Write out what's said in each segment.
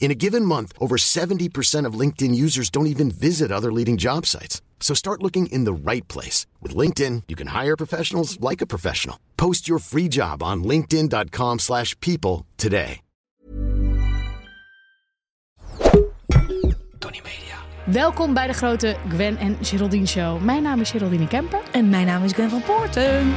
In a given month, over 70% of LinkedIn users don't even visit other leading job sites. So start looking in the right place. With LinkedIn, you can hire professionals like a professional. Post your free job on linkedin.com/people slash people today. Tony Media. Welkom bij de grote Gwen en Geraldine Show. Mijn naam is Geraldine Kemper. En mijn naam is Gwen van Poorten.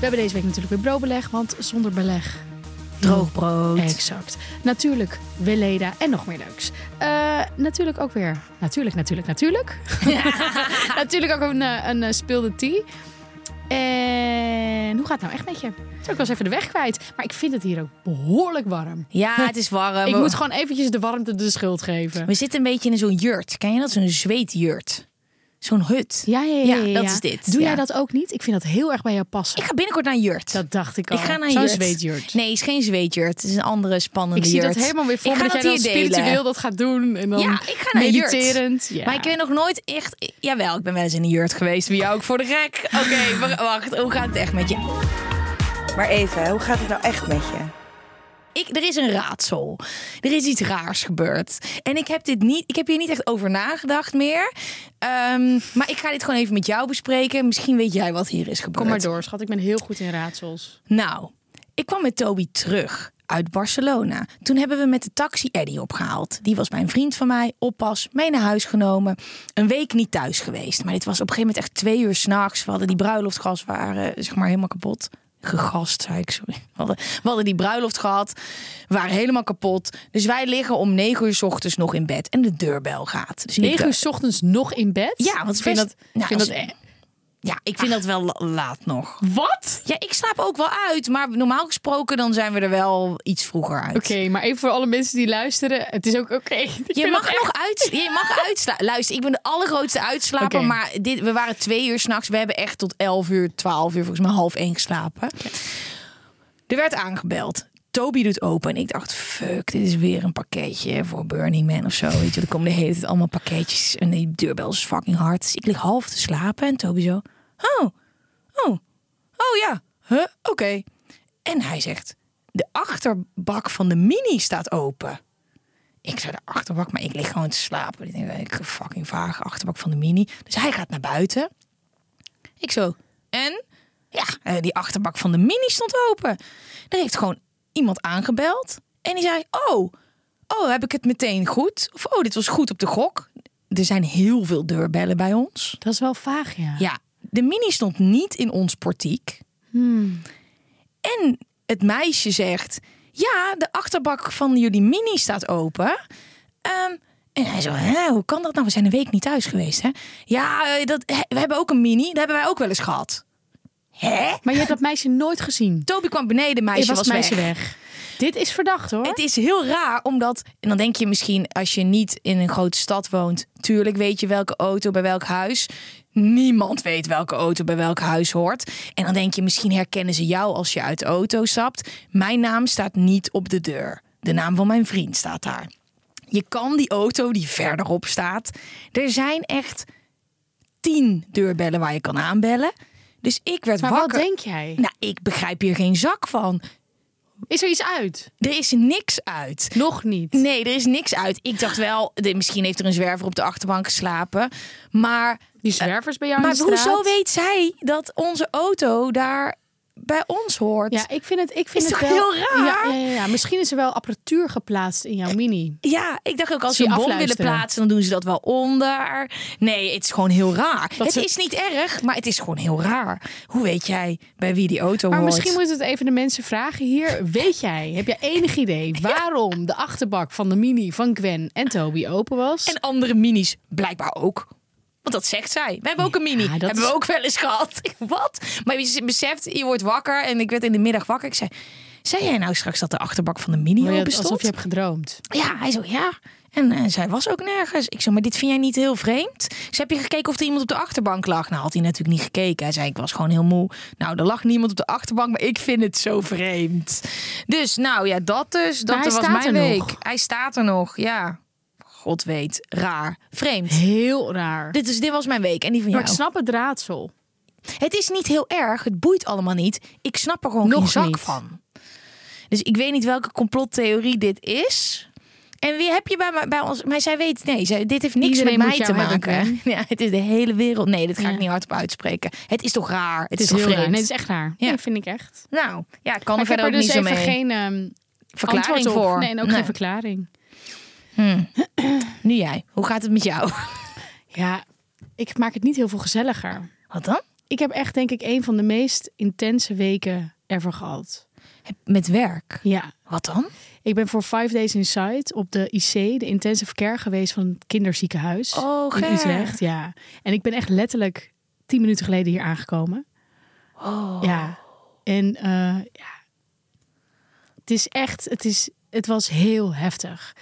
We hebben deze week natuurlijk weer broodbeleg, want zonder beleg. Droog brood. Exact. Natuurlijk Weleda en nog meer leuks. Eh, natuurlijk ook weer. Natuurlijk, natuurlijk, natuurlijk. natuurlijk ook een, eh, een eh, speelde tea. En hoe gaat het nou echt met je? Ik was even de weg kwijt. Maar ik vind het hier ook behoorlijk warm. Ja, het is warm. Ik we, moet gewoon eventjes de warmte de schuld geven. we zitten een beetje in zo'n jurt. Ken je dat? Zo'n zweetjurt. Zo'n hut. Ja, ja, ja. dat ja. is dit. Doe Ja. jij dat ook niet? Ik vind dat heel erg bij jou passen. Ik ga binnenkort naar een jurt. Dat dacht ik al. ik ga naar een Zo'n jurt. zweetjurt. Nee, het is geen zweetjurt. Het is een andere spannende ik zie jurt. dat helemaal weer voor Ik me, ga dat jij dat dan hier spiritueel delen. dat gaat doen. En dan Ja, ik ga naar een jurt. mediterend. Ja. Maar ik ben nog nooit echt... Jawel, ik ben wel eens in een jurt geweest. Wie jou ook voor de gek. Oké, wa- wacht. Hoe gaat het echt met je? Maar even, hoe gaat het nou echt met je? Ik, er is een raadsel. Er is iets raars gebeurd. En ik heb, dit niet, ik heb hier niet echt over nagedacht meer. Ehm, maar ik ga dit gewoon even met jou bespreken. Misschien weet jij wat hier is gebeurd. Kom maar door, schat. Ik ben heel goed in raadsels. Nou, ik kwam met Toby terug uit Barcelona. Toen hebben we met de taxi Eddie opgehaald. Die was bij een vriend van mij, oppas, mee naar huis genomen. Een week niet thuis geweest. Maar dit was op een gegeven moment echt twee uur s'nachts. We hadden die bruiloftgas waren eh, zeg maar helemaal kapot. Gegast, zei ik, sorry. We hadden, we hadden die bruiloft gehad. We waren helemaal kapot. Dus wij liggen om negen uur s ochtends nog in bed. En de deurbel gaat. Dus ik, 9 eh, uur 's ochtends nog in bed? Ja, want ik vind best- dat... nou, ik vind als- dat eh, Ja, ik vind dat wel la- laat nog. wat? Ja, ik slaap ook wel uit. Maar normaal gesproken dan zijn we er wel iets vroeger uit. Oké, maar even voor alle mensen die luisteren. Het is ook oké. Ik Je vind mag dat echt- nog uit. Je mag uitslapen. Luister, ik ben de allergrootste uitslaper. Oké. Maar dit, we waren twee uur s'nachts. We hebben echt tot elf uur, twaalf uur, volgens mij half één geslapen. Er werd aangebeld. Toby doet open en ik dacht, fuck, dit is weer een pakketje voor Burning Man of zo. Weet je, er komen de hele tijd allemaal pakketjes en die deurbel is fucking hard. Dus ik lig half te slapen en Toby zo, oh, oh, oh ja, huh, oké. En hij zegt, de achterbak van de mini staat open. Ik zei de achterbak, maar ik lig gewoon te slapen. Ik denk, eh, ik fucking vage achterbak van de mini. Dus hij gaat naar buiten. Ik zo, en? Ja, eh, die achterbak van de mini stond open. Er heeft gewoon iemand aangebeld. En die zei, oh, oh, heb ik het meteen goed? Of, oh, dit was goed op de gok. Er zijn heel veel deurbellen bij ons. Dat is wel vaag, ja. Ja, de mini stond niet in ons portiek. Hmm. En het meisje zegt: Ja, de achterbak van jullie mini staat open. Ehm, en hij zo: Hè, Hoe kan dat nou? We zijn een week niet thuis geweest. Hè? Ja, eh, dat, hè, we hebben ook een mini. Dat hebben wij ook wel eens gehad. Hè? Maar je hebt dat meisje nooit gezien. Toby kwam beneden, meisje Je was was het meisje weg. weg. Dit is verdacht, hoor. Het is heel raar, omdat... En dan denk je misschien, als je niet in een grote stad woont... Tuurlijk weet je welke auto bij welk huis. Niemand weet welke auto bij welk huis hoort. En dan denk je, misschien herkennen ze jou als je uit de auto stapt. Mijn naam staat niet op de deur. De naam van mijn vriend staat daar. Je kan die auto die verderop staat. Er zijn echt tien deurbellen waar je kan aanbellen. Dus ik werd maar wat wakker. denk jij? Nou, ik begrijp hier geen zak van. Is er iets uit? Er is niks uit. Nog niet. Nee, er is niks uit. Ik dacht wel, de- misschien heeft er een zwerver op de achterbank geslapen. Maar, Die zwervers bij jou maar in de straat? hoezo weet zij dat onze auto daar bij ons hoort. Ja, ik vind het, ik vind Is het toch wel, heel raar? Ja, ja, ja, ja. misschien is er wel apparatuur geplaatst in jouw mini. Ja, ik dacht ook als Zie ze een je bom willen afluisteren. plaatsen, dan doen ze dat wel onder. Nee, het is gewoon heel raar. het ze- is niet erg, maar het is gewoon heel raar. Hoe weet jij bij wie die auto Maar hoort? misschien moeten we het even de mensen vragen hier. Weet jij, heb jij enig idee waarom de achterbak van de mini van Gwen en Toby open was? En andere minis blijkbaar ook. Want dat zegt zij. We hebben ook een mini. dat hebben is- we ook wel eens gehad. Wat? Maar je beseft, je wordt wakker. En ik werd in de middag wakker. Ik zei, zei jij nou straks dat de achterbak van de mini Maar Oh ja, open stond? alsof je hebt gedroomd. Ja, hij zo, ja. En, eh, zij was ook nergens. Ik zei, maar dit vind jij niet heel vreemd? Dus heb je gekeken of er iemand op de achterbank lag? Nou, had hij natuurlijk niet gekeken. Hij zei, ik was gewoon heel moe. Nou, er lag niemand op de achterbank, maar ik vind het zo vreemd. Dus, nou ja, dat dus. Dat Maar hij was staat mijn er week. nog. Hij staat er nog, ja. God weet, raar. Vreemd. Heel raar. Dit, is, dit was mijn week en die van Dus- Maar jou. ik snap het raadsel. Het is niet heel erg, het boeit allemaal niet. Ik snap er gewoon Nog geen zak niet. van. Dus ik weet niet welke complottheorie dit is. En wie heb je bij, mij- bij ons? Maar zij weet, nee, zij, dit heeft niks Iedereen met moet mij te jou hebben, maken. ja, het is de hele wereld. Nee, dat ga ik Ja. niet hardop uitspreken. Het is toch raar? Het Het is, is toch heel raar. vreemd? Nee, het is echt raar. Ja. Ja, vind ik echt. Nou, ja, ik Maar kan ik er heb er verder ook dus niet zo even mee. geen ehm, verklaring antwoord op. voor. Nee, nou, en ook geen verklaring. Nu jij. Hoe gaat het met jou? Ja, ik maak het niet heel veel gezelliger. Wat dan? Ik heb echt, denk ik, een van de meest intense weken ever gehad. Met werk. Ja. Wat dan? Ik ben voor Five Days Inside op de IC, de intensive care geweest van het kinderziekenhuis. Oh, in Ger. Utrecht, ja. En ik ben echt letterlijk tien minuten geleden hier aangekomen. Oh. Ja. En eh, ja. Het is echt, het, is, het was heel heftig.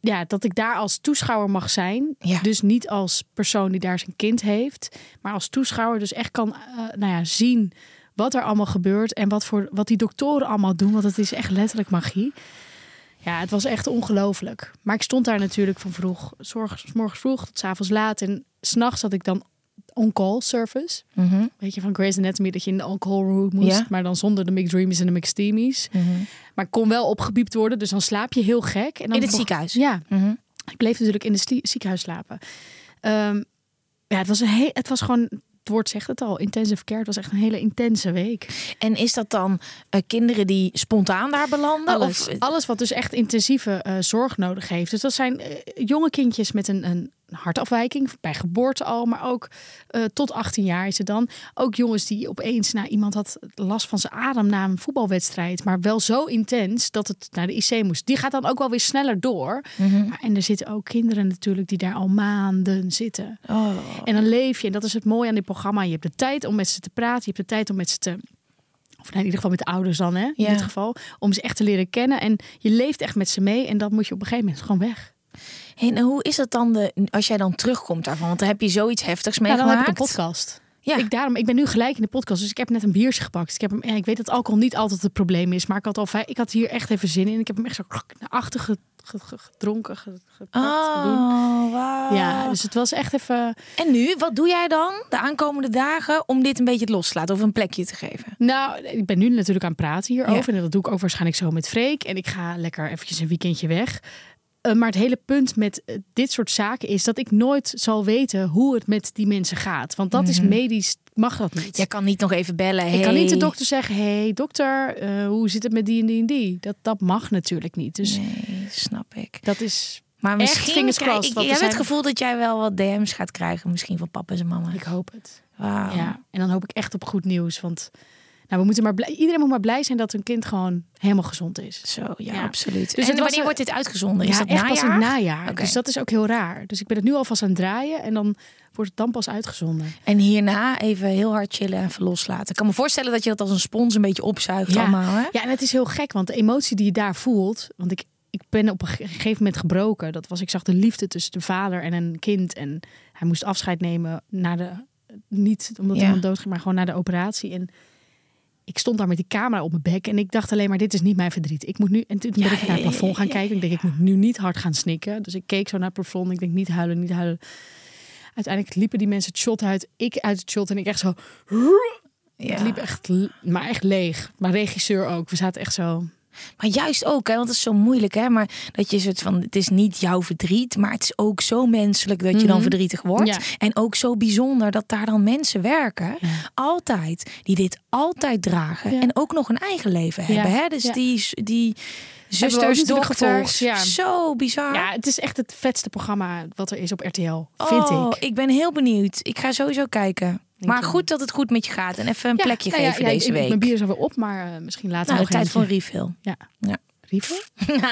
Ja, dat ik daar als toeschouwer mag zijn. Ja. Dus niet als persoon die daar zijn kind heeft. Maar als toeschouwer dus echt kan eh, nou ja, zien wat er allemaal gebeurt. En wat, voor, wat die doktoren allemaal doen. Want het is echt letterlijk magie. Ja, het was echt ongelooflijk. Maar ik stond daar natuurlijk van vroeg, zorg, 's morgens vroeg tot 's avonds laat. En s'nachts had ik dan on-call service. Weet je, van Grey's Anatomy dat je in de on-call room moest. Mhm. Ja. Mhm. Maar dan zonder de McDreamies en de McSteamies. Maar ik kon wel opgebiept worden, dus dan slaap je heel gek. En dan In het nog- ziekenhuis? Mhm. Ja. Ik bleef natuurlijk in het slie- ziekenhuis slapen. Ehm, ja, het was, een he- het was gewoon, het woord zegt het al, intensive care. Het was echt een hele intense week. En is dat dan eh, kinderen die spontaan daar belanden? Alles, Of, alles wat dus echt intensieve eh, zorg nodig heeft. Dus dat zijn eh, jonge kindjes met een, een hartafwijking, bij geboorte al, maar ook eh, tot 18 jaar is het dan. Ook jongens die opeens, nou, iemand had last van zijn adem na een voetbalwedstrijd, maar wel zo intens dat het naar de IC moest. Die gaat dan ook wel weer sneller door. Maar- En er zitten ook kinderen natuurlijk die daar al maanden zitten. En dan leef je, en dat is het mooie aan dit programma. Je hebt de tijd om met ze te praten, je hebt de tijd om met ze te of nou, in ieder geval met de ouders dan, hè? In Ja. dit geval. Om ze echt te leren kennen. En je leeft echt met ze mee. En dan moet je op een gegeven moment gewoon weg. En hoe is dat dan de, als jij dan terugkomt daarvan? Want dan heb je zoiets heftigs Ja, dan meegemaakt. heb ik een podcast. Ja. Ik, daarom, ik ben nu gelijk in de podcast. Dus ik heb net een biertje gepakt. Ik, heb hem, ja, ik weet dat alcohol niet altijd het probleem is. Maar ik had, al, vij- ik had hier echt even zin in. Ik heb hem echt zo naar achter ge- ge- ge- gedronken. ge- gepakt, gedoen. Oh, wauw. Ja, dus het was echt even... En nu, wat doe jij dan de aankomende dagen om dit een beetje los te laten of een plekje te geven? Nou, ik ben nu natuurlijk aan het praten hierover. Ja. En dat doe ik ook waarschijnlijk zo met Freek. En ik ga lekker eventjes een weekendje weg. Eh, maar het hele punt met eh, dit soort zaken is dat ik nooit zal weten hoe het met die mensen gaat. Want dat is medisch, mag dat niet. Jij kan niet nog even bellen. Ik kan niet de Mhm. hey. dokter zeggen, hé hey, dokter, eh, hoe zit het met die en die en die? Dat, dat mag natuurlijk niet. Dus Nee, snap ik. dat is, Maar Echt misschien fingers krijg crossed, ik, want jij er hebt zijn- het gevoel dat jij wel wat DM's gaat krijgen, misschien van papa en mama. ik hoop het. Wauw. Ja. En dan hoop ik echt op goed nieuws. Want nou, we moeten maar blij, iedereen moet maar blij zijn dat hun kind gewoon helemaal gezond is. Zo, ja, Ja. absoluut. Dus het en was wanneer een- wordt dit uitgezonden? is ja, dat echt najaar? pas in het najaar. Oké. Dus dat is ook heel raar. Dus ik ben het nu alvast aan het draaien en dan wordt het dan pas uitgezonden. En hierna even heel hard chillen en even loslaten. Ik kan me voorstellen dat je dat als een spons een beetje opzuigt allemaal. Hè? ja, en het is heel gek, want de emotie die je daar voelt... Want ik, ik ben op een ge- gegeven moment gebroken. Dat was, ik zag de liefde tussen de vader en een kind. En hij moest afscheid nemen na de... Niet omdat Ja. iemand doodging, maar gewoon na de operatie. En ik stond daar met die camera op mijn bek. En ik dacht alleen maar, dit is niet mijn verdriet. Ik moet nu... En toen ben ik Ja, naar ja, het ja, plafond gaan ja, kijken. Ik denk, ik moet nu niet hard gaan snikken. Dus ik keek zo naar het plafond. Ik denk, niet huilen, niet huilen. Uiteindelijk liepen die mensen het shot uit. Ik uit het shot. En ik echt zo... Ja. Het liep echt, l- maar echt leeg. Maar regisseur ook. We zaten echt zo. Maar juist ook, hè, want het is zo moeilijk, hè? Maar dat je soort van, het is niet jouw verdriet, maar het is ook zo menselijk dat je dan verdrietig wordt. Mhm. Ja. En ook zo bijzonder dat daar dan mensen werken, altijd, die dit altijd dragen. Ja. En ook nog een eigen leven Ja. hebben, hè? Dus Ja. die, die zusters, natuurlijk dochters, gevolgd, ja. zo bizar. Ja, het is echt het vetste programma wat er is op RTL, vind Oh, ik. ik ben heel benieuwd. Ik ga sowieso kijken. Maar ik ook. goed dat het goed met je gaat. En even een Ja, plekje nou ja, geven ja, deze ik- week. Mijn bier is alweer op, maar eh, misschien later nou, de nog tijd eentje. voor een refill. Ja. Ja. Refill? Eh,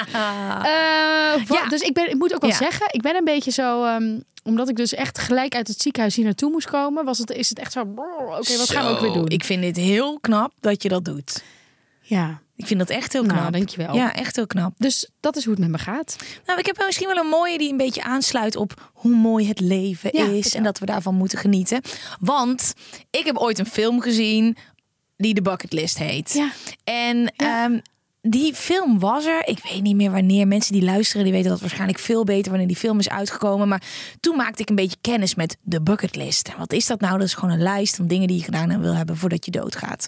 wa- Ja. Dus ik, ben, ik moet ook wel Ja. zeggen, ik ben een beetje zo... ehm, omdat ik dus echt gelijk uit het ziekenhuis hier naartoe moest komen, was het, is het echt zo... brrr, Oké, wat gaan we ook weer Zo, doen? Ik vind dit heel knap dat je dat doet. Ja, Ik vind dat echt heel knap. nou, dankjewel. Ja, echt heel knap. Dus dat is hoe het met me gaat. Nou, ik heb wel misschien wel een mooie die een beetje aansluit op hoe mooi het leven Ja, is. vertel. En dat we daarvan moeten genieten. Want ik heb ooit een film gezien die de Bucketlist heet. Ja. En ehm, die film was er. Ik weet niet meer wanneer. Mensen die luisteren, die weten dat waarschijnlijk veel beter wanneer die film is uitgekomen. Maar toen maakte ik een beetje kennis met de bucketlist. En wat is dat nou? Dat is gewoon een lijst van dingen die je gedaan wil hebben voordat je doodgaat.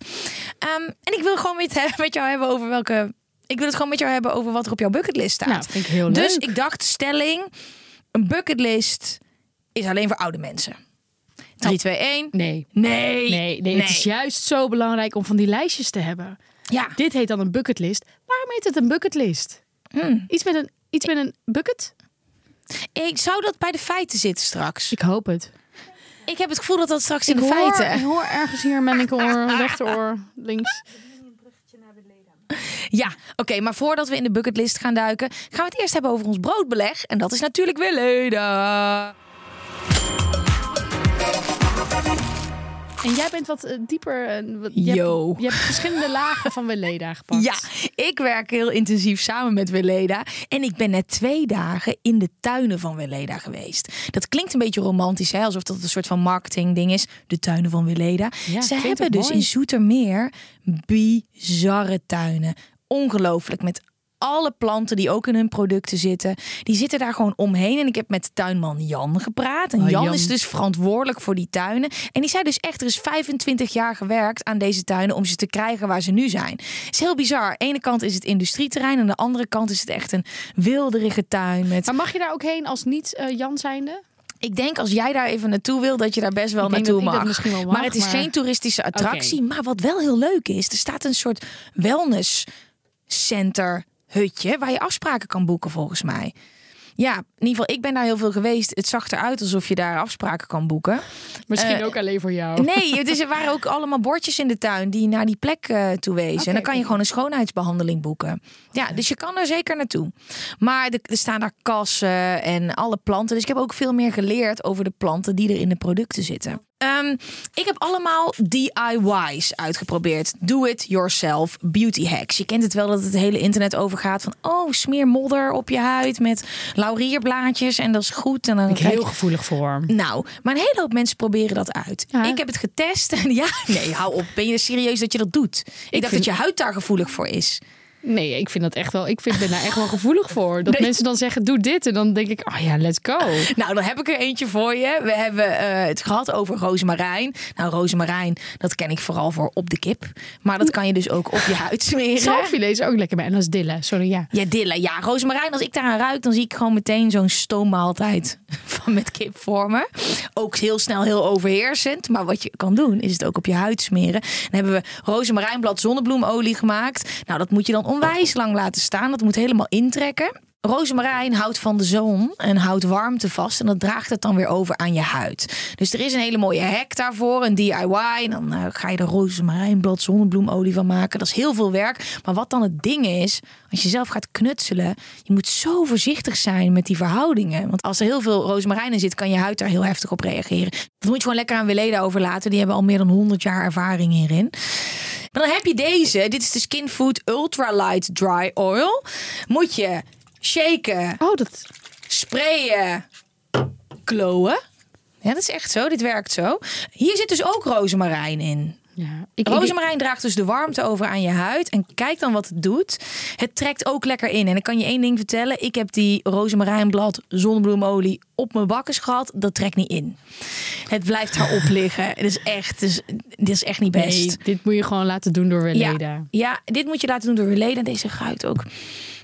Ehm, en ik wil gewoon met, met jou hebben over welke. Ik wil het gewoon met jou hebben over wat er op jouw bucketlist staat. Nou, vind ik heel Dus leuk. ik dacht, stelling: een bucketlist is alleen voor oude mensen. 3, 2, 1. Nee. Nou. Nee. Nee, nee, het is juist zo belangrijk om van die lijstjes te hebben. Ja. Dit heet dan een bucketlist. Waarom heet het een bucketlist? Iets, met een, iets met een bucket? Ik zou dat bij de feiten zitten straks. Ik hoop het. Ik heb het gevoel dat dat straks in ik de hoor, feiten. ik hoor ergens hier mijn linkeroor, rechteroor, links. Ja, oké, maar voordat we in de bucketlist gaan duiken, gaan we het eerst hebben over ons broodbeleg. En dat is natuurlijk weer leden. En jij bent wat eh, dieper. en wat- je, Yo. Hebt, je hebt verschillende lagen van Weleda gepakt. Ja, ik werk heel intensief samen met Weleda. En ik ben net twee dagen in de tuinen van Weleda geweest. Dat klinkt een beetje romantisch, hè? alsof dat een soort van marketingding is. De tuinen van Weleda. Ja, Ze klinkt hebben ook dus mooi. in Zoetermeer bizarre tuinen. Ongelooflijk, met alle planten die ook in hun producten zitten. Die zitten daar gewoon omheen. En ik heb met tuinman Jan gepraat. En Ah, Jan, Jan. is dus verantwoordelijk voor die tuinen. En die zei dus echt, er is 25 jaar gewerkt aan deze tuinen... om ze te krijgen waar ze nu zijn. Het is heel bizar. Aan de ene kant is het industrieterrein... en aan de andere kant is het echt een wilderige tuin. Met... Maar mag je daar ook heen als niet eh, Jan zijnde? Ik denk als jij daar even naartoe wil, dat je daar best wel Ik denk naartoe dat ik mag. dat misschien wel mag, Maar het is maar- geen toeristische attractie. Maar wat wel heel leuk is, er staat een soort wellnesscenter hutje waar je afspraken kan boeken volgens mij. Ja, in ieder geval, ik ben daar heel veel geweest. Het zag eruit alsof je daar afspraken kan boeken. Misschien Eh, ook alleen voor jou. Nee, dus er waren ook allemaal bordjes in de tuin die naar die plek eh, toe wezen. en dan kan je gewoon een schoonheidsbehandeling boeken. Ja, dus je kan daar zeker naartoe. Maar er, er staan daar kassen en alle planten. Dus ik heb ook veel meer geleerd over de planten die er in de producten zitten. Ehm, ik heb allemaal DIY's uitgeprobeerd. Do it yourself beauty hacks. Je kent het wel dat het hele internet overgaat van oh smeer modder op je huid met laurierblaadjes en dat is goed en dan krijg je- gevoelig voor. nou, maar een hele hoop mensen proberen dat uit. Ja. Ik heb het getest. En ja, nee, hou op. Ben je serieus dat je dat doet? Ik, dacht vind- dat je huid daar gevoelig voor is. Nee, ik vind dat echt wel. Ik vind, ben daar echt wel gevoelig voor. Dat mensen dan zeggen: doe dit. En dan denk ik: oh ja, let's go. Nou, dan heb ik er eentje voor je. We hebben eh, het gehad over rozemarijn. Nou, rozemarijn, dat ken ik vooral voor op de kip. Maar dat kan je dus ook op je huid smeren. Zalffilet is ook lekker bij. En dat is dille. Sorry, ja. Ja, dillen. Ja, rozemarijn. Als ik daaraan ruik, dan zie ik gewoon meteen zo'n stoommaaltijd van met kip voor me. Ook heel snel heel overheersend. Maar wat je kan doen, is het ook op je huid smeren. Dan hebben we rozemarijnblad zonnebloemolie gemaakt. Nou, dat moet je dan onwijs lang laten staan. Dat moet helemaal intrekken. Rozemarijn houdt van de zon en houdt warmte vast. En dat draagt het dan weer over aan je huid. Dus er is een hele mooie hack daarvoor, een DIY. En dan eh, ga je er rozemarijnblad, zonnebloemolie van maken. Dat is heel veel werk. Maar wat dan het ding is, als je zelf gaat knutselen... je moet zo voorzichtig zijn met die verhoudingen. Want als er heel veel rozemarijn in zit, kan je huid daar heel heftig op reageren. Dat moet je gewoon lekker aan Weleda overlaten. Die hebben al meer dan 100 jaar ervaring hierin. Maar dan heb je deze. Dit is de Skin Food Ultralight Dry Oil. Moet je shaken, Oh, dat. sprayen, klowen. Ja, dat is echt zo. Dit werkt zo. Hier zit dus ook rozemarijn in. Ja, ik, ik- Rozemarijn draagt dus de warmte over aan je huid. En kijk dan wat het doet. Het trekt ook lekker in. En ik kan je één ding vertellen. Ik heb die rozemarijnblad zonnebloemolie op mijn bakkes gehad. Dat trekt niet in. Het blijft erop liggen. Het is echt, het is, dit is echt niet best. nee, dit moet je gewoon laten doen door Weleda. Ja, ja, dit moet je laten doen door Weleda. Deze ruikt ook.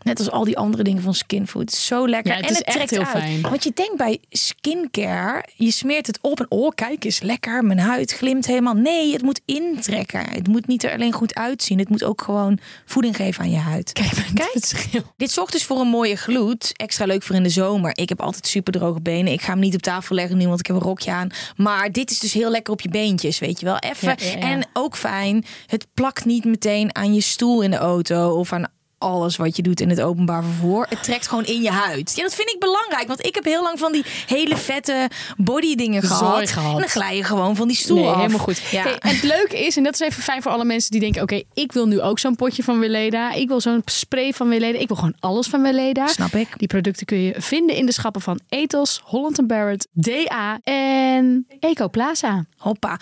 Net als al die andere dingen van Skinfood. Zo lekker. Ja, het en is het echt trekt heel uit. fijn. Want je denkt bij skincare, je smeert het op en oh, kijk eens lekker. Mijn huid glimt helemaal. Nee, het moet intrekken. Het moet niet er alleen goed uitzien. Het moet ook gewoon voeding geven aan je huid. Kijk, maar het verschil. Dit zorgt dus voor een mooie gloed. Extra leuk voor in de zomer. Ik heb altijd super droge benen. Ik ga hem niet op tafel leggen nu, want ik heb een rokje aan. Maar dit is dus heel lekker op je beentjes, weet je wel. Even. Ja, ja, ja. En ook fijn, het plakt niet meteen aan je stoel in de auto of aan alles wat je doet in het openbaar vervoer. Het trekt gewoon in je huid. Ja, dat vind ik belangrijk, want ik heb heel lang van die hele vette body dingen Zooi gehad. gehad. En dan glij je gewoon van die stoel Nee, af. helemaal goed. Ja. Hey, en het leuke is, en dat is even fijn voor alle mensen die denken... oké, ik wil nu ook zo'n potje van Weleda. Ik wil zo'n spray van Weleda. Ik wil gewoon alles van Weleda. Snap ik. Die producten kun je vinden in de schappen van Ethos, Holland Barrett, DA en Ecoplaza. Hoppa.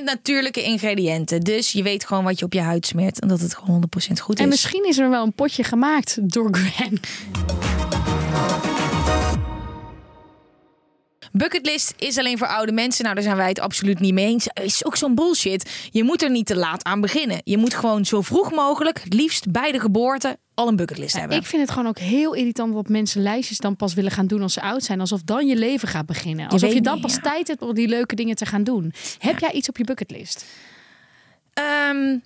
100% natuurlijke ingrediënten. Dus je weet gewoon wat je op je huid smeert. En dat het gewoon 100% goed is. En misschien is er wel een potje gemaakt door Gwen. Bucketlist is alleen voor oude mensen. Nou, daar zijn wij het absoluut niet mee eens. Is ook zo'n bullshit. Je moet er niet te laat aan beginnen. Je moet gewoon zo vroeg mogelijk, het liefst bij de geboorte, al een bucketlist hebben. Ik vind het gewoon ook heel irritant wat mensen lijstjes dan pas willen gaan doen als ze oud zijn. Alsof dan je leven gaat beginnen. Alsof je, weet dan niet, pas ja. tijd hebt om die leuke dingen te gaan doen. Heb jij iets op je bucketlist? Ehm,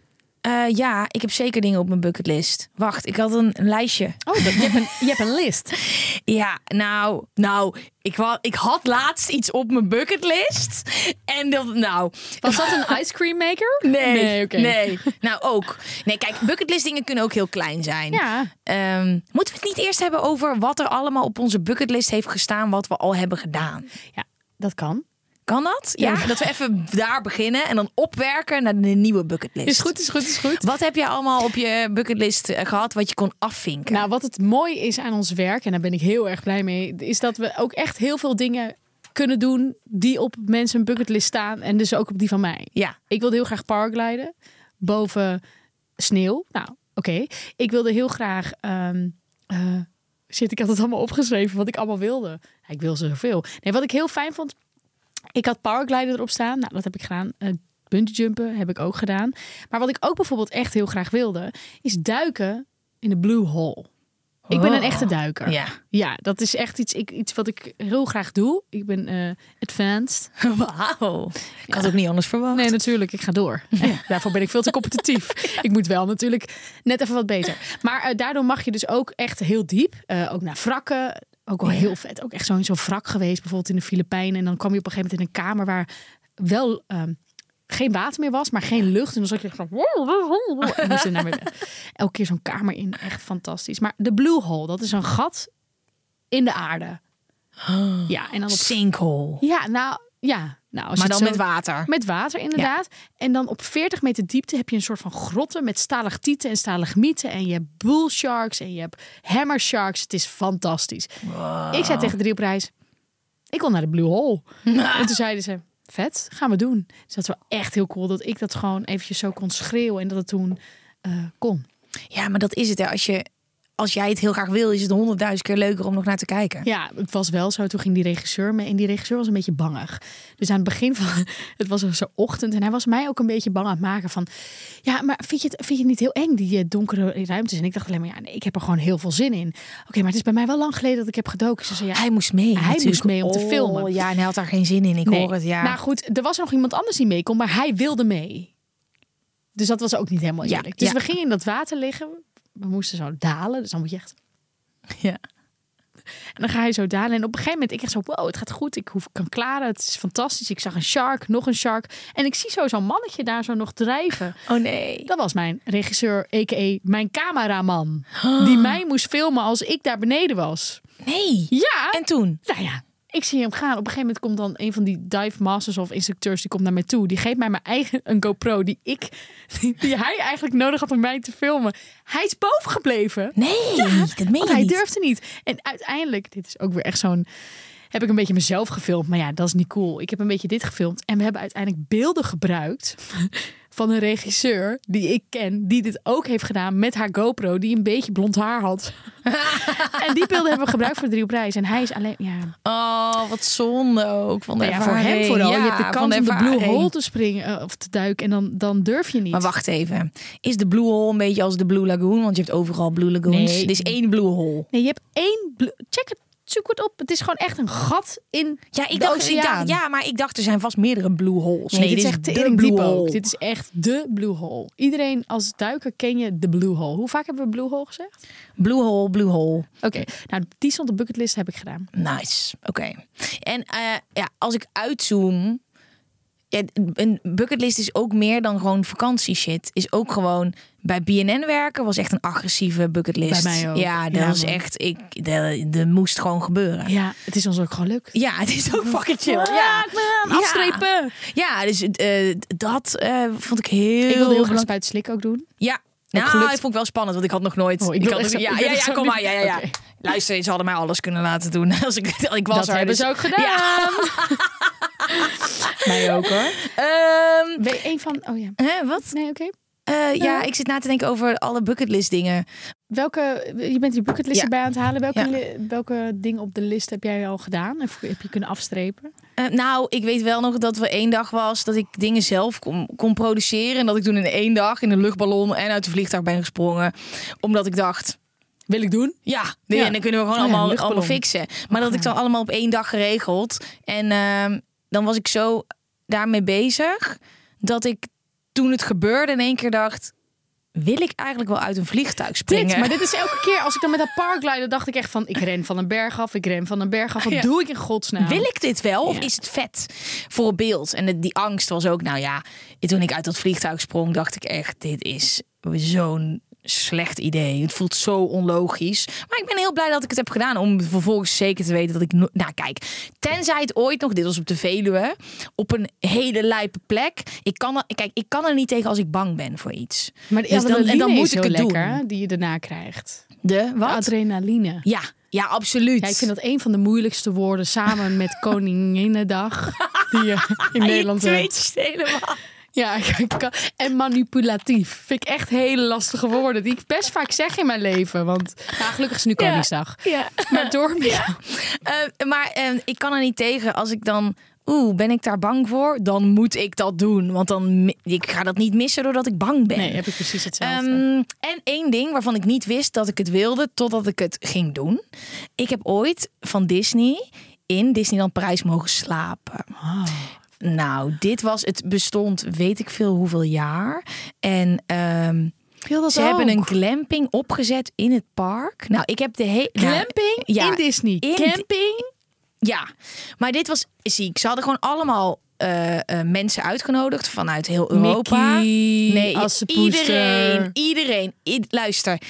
eh, ja, ik heb zeker dingen op mijn bucketlist. Wacht, ik had een, een lijstje. Oh, dat- je, hebt een, je hebt een list. Ja, nou, nou, ik, wa- ik had laatst iets op mijn bucketlist. En dat, nou, Was dat een ice cream maker? Nee, Nee, nee, oké. Nou, ook. Nee, kijk, bucketlist dingen kunnen ook heel klein zijn. Ja. Ehm, moeten we het niet eerst hebben over wat er allemaal op onze bucketlist heeft gestaan, wat we al hebben gedaan? Ja, dat kan. Kan dat? Ja, dat we even daar beginnen en dan opwerken naar de nieuwe bucketlist. Is goed, is goed, is goed. Wat heb jij allemaal op je bucketlist eh, gehad wat je kon afvinken? Nou, wat het mooi is aan ons werk, en daar ben ik heel erg blij mee, is dat we ook echt heel veel dingen kunnen doen die op mensen een bucketlist staan en dus ook op die van mij. ja. Ik wilde heel graag paragliden boven sneeuw. Nou, oké. Ik wilde heel graag. ehm, eh, shit, ik had het allemaal opgeschreven wat ik allemaal wilde. Ja, ik wil zoveel. Nee, wat ik heel fijn vond. Ik had paragliden erop staan. Nou, dat heb ik gedaan. Eh bungee jumpen heb ik ook gedaan. Maar wat ik ook bijvoorbeeld echt heel graag wilde, is duiken in de Blue Hole. Ik ben een Oh. echte duiker. Ja. Ja, dat is echt iets, ik, iets wat ik heel graag doe. Ik ben eh, advanced. Wauw. Ik had ook niet anders verwacht. Nee, natuurlijk. Ik ga door. Daarvoor ben ik veel te competitief. ik moet wel natuurlijk net even wat beter. Maar eh, daardoor mag je dus ook echt heel diep. eh, ook naar wrakken. Ook wel heel vet. Ook echt zo in zo'n wrak geweest. Bijvoorbeeld in de Filipijnen. En dan kwam je op een gegeven moment in een kamer waar wel... ehm, geen water meer was, maar geen lucht. En dan zat je echt zo... En moest je naar beneden. Elke keer zo'n kamer in. Echt fantastisch. Maar de Blue Hole, dat is een gat in de aarde. Ja, en dan op... Sinkhole. Ja, nou... Ja, nou, als Maar je dan het zo- met water. met water, inderdaad. En dan op 40 meter diepte heb je een soort van grotten met stalactieten en stalagmieten. En je hebt bull sharks en je hebt hammer sharks. Het is fantastisch. Ik zei tegen de op reis, ik wil naar de Blue Hole. En toen zeiden ze, vet, gaan we doen. Dus dat was wel echt heel cool dat ik dat gewoon eventjes zo kon schreeuwen. En dat het toen eh, kon. Ja, maar dat is het. Hè. Als, je, als jij het heel graag wil, is het honderdduizend keer leuker om nog naar te kijken. Ja, het was wel zo. Toen ging die regisseur mee. En die regisseur was een beetje bangig. Dus aan het begin van... Het was zo'n ochtend. En hij was mij ook een beetje bang aan het maken van... Ja, maar vind je het, vind je het niet heel eng, die eh, donkere ruimtes? En ik dacht alleen maar... Ja, nee, ik heb er gewoon heel veel zin in. Oké, maar het is bij mij wel lang geleden dat ik heb gedoken. Ze zei, ja, Hij moest mee. Hij moest natuurlijk. mee om te Oh, filmen. Ja, en hij had daar geen zin in. Ik nee. hoor het. Ja. Nou goed, er was nog iemand anders die mee kon. Maar hij wilde mee. Dus dat was ook niet helemaal Ja, eerlijk. dus ja. we gingen in dat water liggen. We moesten zo dalen. Dus dan moet je echt ja. En dan ga je zo dalen. En op een gegeven moment, ik echt zo, wow, het gaat goed. Ik hoef, ik kan klaren. Het is fantastisch. Ik zag een shark, nog een shark. En ik zie zo zo'n mannetje daar zo nog drijven. Oh nee. Dat was mijn regisseur, a.k.a. mijn cameraman. Die mij moest filmen als ik daar beneden was. Nee. Ja. En toen? Nou ja, ik zie hem gaan. Op een gegeven moment komt dan een van die dive masters of instructeurs die komt naar mij toe. Die geeft mij mijn eigen een GoPro die ik, die, die hij eigenlijk nodig had om mij te filmen. Hij is boven gebleven. Nee. dat meen Want je hij niet. durfde niet. En uiteindelijk, dit is ook weer echt zo'n. heb ik een beetje mezelf gefilmd. Maar ja, dat is niet cool. Ik heb een beetje dit gefilmd. En we hebben uiteindelijk beelden gebruikt van een regisseur die ik ken, die dit ook heeft gedaan met haar GoPro, die een beetje blond haar had. en die beelden hebben we gebruikt voor de drie prijs. En hij is alleen, ja, Oh, wat zonde ook. Van de nou ja, voor hem ervaring. vooral. Ja, je hebt de van kans om de blue ervaring. hole te springen eh, of te duiken en dan, dan durf je niet. Maar wacht even. Is de Blue Hole een beetje als de Blue Lagoon? Want je hebt overal Blue Lagoons. Nee. Er is één Blue Hole. Nee, je hebt één, blu- check het, zoek het op. Het is gewoon echt een gat in Ja, ik de dacht, ik oceaan. dacht, ja, maar ik dacht er zijn vast meerdere Blue Holes. Nee, dit, is echt de tering Blue diep ook. Hole. Dit is echt de Blue Hole. Iedereen als duiker ken je de Blue Hole. Hoe vaak hebben we Blue Hole gezegd? Blue Hole, Blue Hole. Oké, nou die stond op bucketlist heb ik gedaan. Nice. Oké. En eh, ja, als ik uitzoom. Ja, een bucketlist is ook meer dan gewoon vakantieshit. Is ook gewoon bij BNN werken was echt een agressieve bucketlist. Bij mij ook. Ja, dat Ja, was man. echt. Ik, dat, dat moest gewoon gebeuren. Ja, het is ons ook gewoon leuk. Ja, het is ook fucking chill. Ja, Ja. Afstrepen. Ja, dus eh, dat eh, vond ik heel. Ik wilde heel graag belangrijk. spuiten slik ook doen. Ja. Nou, gelukt. ik vond ik wel spannend, want ik had nog nooit. Oh, ik ik wil had echt nog- zo- ja, ik wil ja, echt zo ja, kom maar. niet- Ja, ja, ja. Oké. Luister, ze hadden mij alles kunnen laten doen. Als ik, ik was Dat er, hebben dus- ze ook gedaan. Ja. Mij ook hoor. Ehm, Ben je een van... Oh ja. hè, wat? Nee, oké. Eh, ja, ik zit na te denken over alle bucketlist dingen. Welke, je bent die bucketlisten Ja. bij aan het halen. Welke, Ja. li- welke dingen op de list heb jij al gedaan? Of heb je kunnen afstrepen? Eh, nou, ik weet wel nog dat we één dag was dat ik dingen zelf kon, kon produceren. En dat ik toen in één dag in een luchtballon en uit een vliegtuig ben gesprongen. Omdat ik dacht, Wil ik doen? Ja, nee, Ja. en dan kunnen we gewoon Oh ja, allemaal, luchtballon. allemaal fixen. Maar dat ik dan allemaal op één dag geregeld. En ehm, dan was ik zo daarmee bezig dat ik toen het gebeurde in één keer dacht... Wil ik eigenlijk wel uit een vliegtuig springen? Dit, maar dit is elke keer als ik dan met dat parkglider dacht ik echt van ik ren van een berg af, ik ren van een berg af. Wat Ja. doe ik in godsnaam? Wil ik dit wel of Ja. is het vet voor een beeld? En het- die angst was ook, nou ja, toen ik uit dat vliegtuig sprong, dacht ik echt, dit is zo'n slecht idee. Het voelt zo onlogisch. Maar ik ben heel blij dat ik het heb gedaan om vervolgens zeker te weten dat ik... no- Nou kijk, tenzij het ooit nog, dit was op de Veluwe, op een hele lijpe plek. Ik kan er, kijk, ik kan er niet tegen als ik bang ben voor iets. Maar de Dus dan- en dan adrenaline dan, moet is ik heel het doen. lekker hè, die je daarna krijgt. De De wat? adrenaline. Ja, ja, absoluut. Ja, ik vind dat een van de moeilijkste woorden samen met Koninginnedag die je in Je Nederland eh, hebt. twitcht helemaal. Ja, ik- ik kan- en manipulatief. Vind ik echt hele lastige woorden die ik best vaak zeg in mijn leven. Want nou, gelukkig is het nu Koningsdag. Ja. Maar door Eh, maar eh, ik kan er niet tegen als ik dan. Oeh, ben ik daar bang voor? Dan moet ik dat doen. Want dan mi- ik ga dat niet missen doordat ik bang ben. Nee, heb ik precies hetzelfde. Ehm, en één ding waarvan ik niet wist dat ik het wilde totdat ik het ging doen. Ik heb ooit van Disney in Disneyland Parijs mogen slapen. Oh, Nou, dit was, het bestond weet ik veel hoeveel jaar. En ehm, Wil dat ze hebben een glamping opgezet in het park. Nou, ik heb de hele. glamping Ja, in Disney. in- Camping. Ja, maar dit was ziek. Ze hadden gewoon allemaal eh, eh, mensen uitgenodigd vanuit heel Europa. Mickey, nee, Assepoester. iedereen, iedereen. I- luister,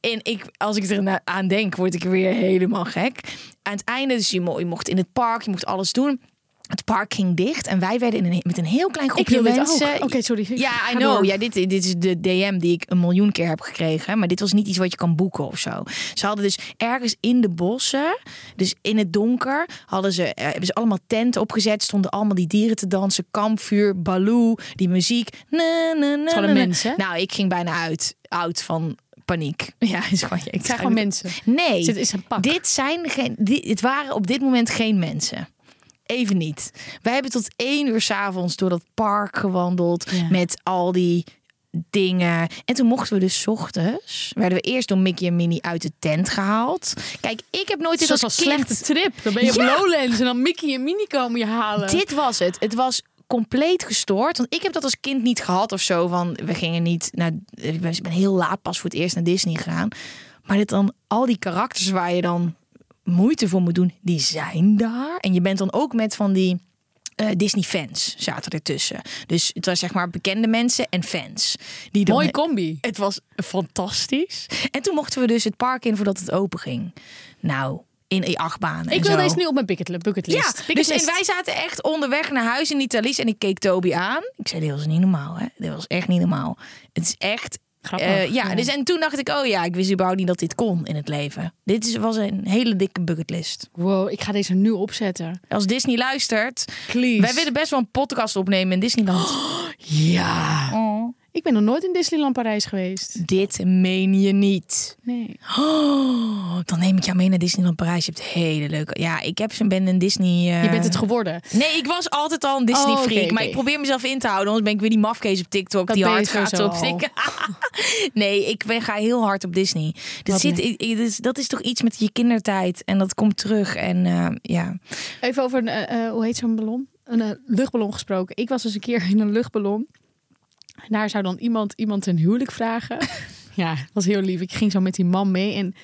en ik, als ik er na- aan denk, word ik weer helemaal gek. Aan het einde, dus je, mo- je mocht in het park, je mocht alles doen. Het park ging dicht en wij werden in een, met een heel klein groepje wil dit mensen. ook. Oké, sorry. Ik Ja, ga I know. door. Ja, dit, dit is de DM die ik een miljoen keer heb gekregen. Maar dit was niet iets wat je kan boeken of zo. Ze hadden dus ergens in de bossen, dus in het donker, hadden ze, eh, hebben ze allemaal tenten opgezet. Stonden allemaal die dieren te dansen. Kampvuur, Baloo, die muziek. Na, na, na, gewoon na, een na. mens, hè? Nou, ik ging bijna uit, uit van paniek. Ja, is gewoon, ik Het zijn gewoon mensen. Nee, Dit is een pak. dit zijn geen, dit, het waren op dit moment geen mensen. Even niet. Wij hebben tot één uur s'avonds door dat park gewandeld Ja. met al die dingen. En toen mochten we dus 's ochtends, werden we eerst door Mickey en Minnie uit de tent gehaald. Kijk, ik heb nooit Dit dit was als een kind... slechte trip. Dan ben je op Ja. Lowlands en dan Mickey en Minnie komen je halen. Dit was het. Het was compleet gestoord. Want ik heb dat als kind niet gehad of zo. Van, we gingen niet naar... Ik ben ik ben heel laat pas voor het eerst naar Disney gegaan. Maar dit dan, al die karakters waar je dan moeite voor moet doen, die zijn daar. En je bent dan ook met van die... eh, Disney-fans zaten ertussen. Dus het was zeg maar bekende mensen en fans. Die dan Mooi combi. het was fantastisch. En toen mochten we dus het park in voordat het open ging. Nou, in e achtbanen Ik en wil zo. deze nu op mijn bucketlist. bucketlist. Ja, dus Bucketlist. en wij zaten echt onderweg naar huis in Italië en ik keek Toby aan. Ik zei, dit was niet normaal, hè? Dit was echt niet normaal. Het is echt Grappig. Eh, ja, dus en toen dacht ik, oh ja, ik wist überhaupt niet dat dit kon in het leven. Dit is, was een hele dikke bucketlist. Wow, ik ga deze nu opzetten. Als Disney luistert, Please. wij willen best wel een podcast opnemen in Disneyland. Oh. Ja. Ik ben nog nooit in Disneyland Parijs geweest. Dit meen je niet. Nee. Oh, dan neem ik jou mee naar Disneyland Parijs. Je hebt hele leuke. Ja, ik heb, ben een Disney. eh, Je bent het geworden. Nee, ik was altijd al een Disney Oh, freak. oké, oké. Maar ik probeer mezelf in te houden. Anders ben ik weer die mafkees op TikTok. Dat die ben je hard gaat sowieso op al. TikTok. nee, ik ben, ga heel hard op Disney. Dat, Wat zit, leuk. ik- ik- dus dat is toch iets met je kindertijd. En dat komt terug. En eh, ja. Even over een, eh, eh, hoe heet zo'n ballon? Een eh, luchtballon gesproken. Ik was eens een keer in een luchtballon. En Daar zou dan iemand iemand een huwelijk vragen. ja, dat was heel lief. Ik ging zo met die man mee. En...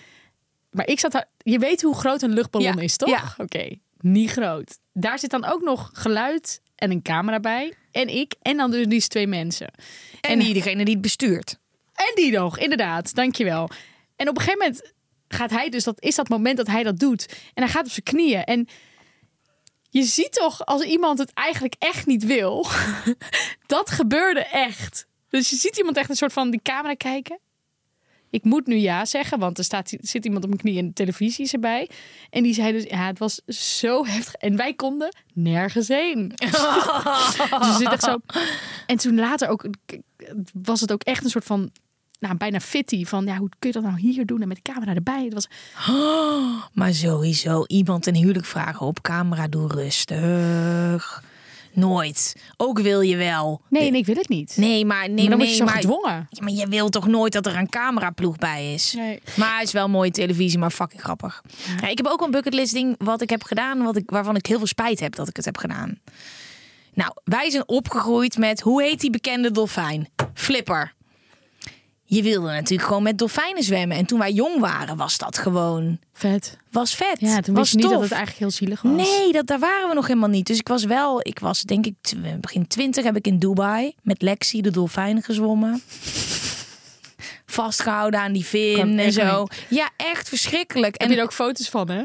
Maar ik zat daar... Je weet hoe groot een luchtballon Ja, is, toch? ja. Oké, niet groot. Daar zit dan ook nog geluid en een camera bij. En ik. En dan dus liefst twee mensen. En, En- iedereen die het bestuurt. En die nog, inderdaad. Dankjewel. En op een gegeven moment gaat hij dus, dat is dat moment dat hij dat doet. En hij gaat op zijn knieën. En je ziet toch, als iemand het eigenlijk echt niet wil, dat gebeurde echt. Dus je ziet iemand echt een soort van die camera kijken. Ik moet nu ja zeggen, want er staat, zit iemand op mijn knie en de televisie is erbij. En die zei dus, ja, het was zo heftig. En wij konden nergens heen. Dus je zit echt zo. En toen later ook k- was het ook echt een soort van. Nou, bijna fitty van ja, hoe kun je dat nou hier doen en met de camera erbij? Het was Maar sowieso iemand een huwelijk vragen op camera. Doe rustig. Nooit. Ook wil je wel. nee, en ik wil het niet. Nee, maar, nee, maar dan nee, word je zo maar, gedwongen. Ja, maar je wil toch nooit dat er een cameraploeg bij is? Nee. Maar hij is wel mooie televisie, maar fucking grappig. Ja, ik heb ook een bucketlist ding wat ik heb gedaan, wat ik, waarvan ik heel veel spijt heb dat ik het heb gedaan. Nou, wij zijn opgegroeid met, hoe heet die bekende dolfijn? Flipper. Je wilde natuurlijk gewoon met dolfijnen zwemmen. En toen wij jong waren, was dat gewoon... Vet. Was vet. Ja, toen wist was je niet tof. dat het eigenlijk heel zielig was. Nee, dat, daar waren we nog helemaal niet. Dus ik was wel, ik was denk ik tw- begin twintig heb ik in Dubai met Lexi de dolfijn gezwommen. Vastgehouden aan die Kan vin en echt zo. Ja, echt verschrikkelijk. Heb en je er ook foto's van, hè?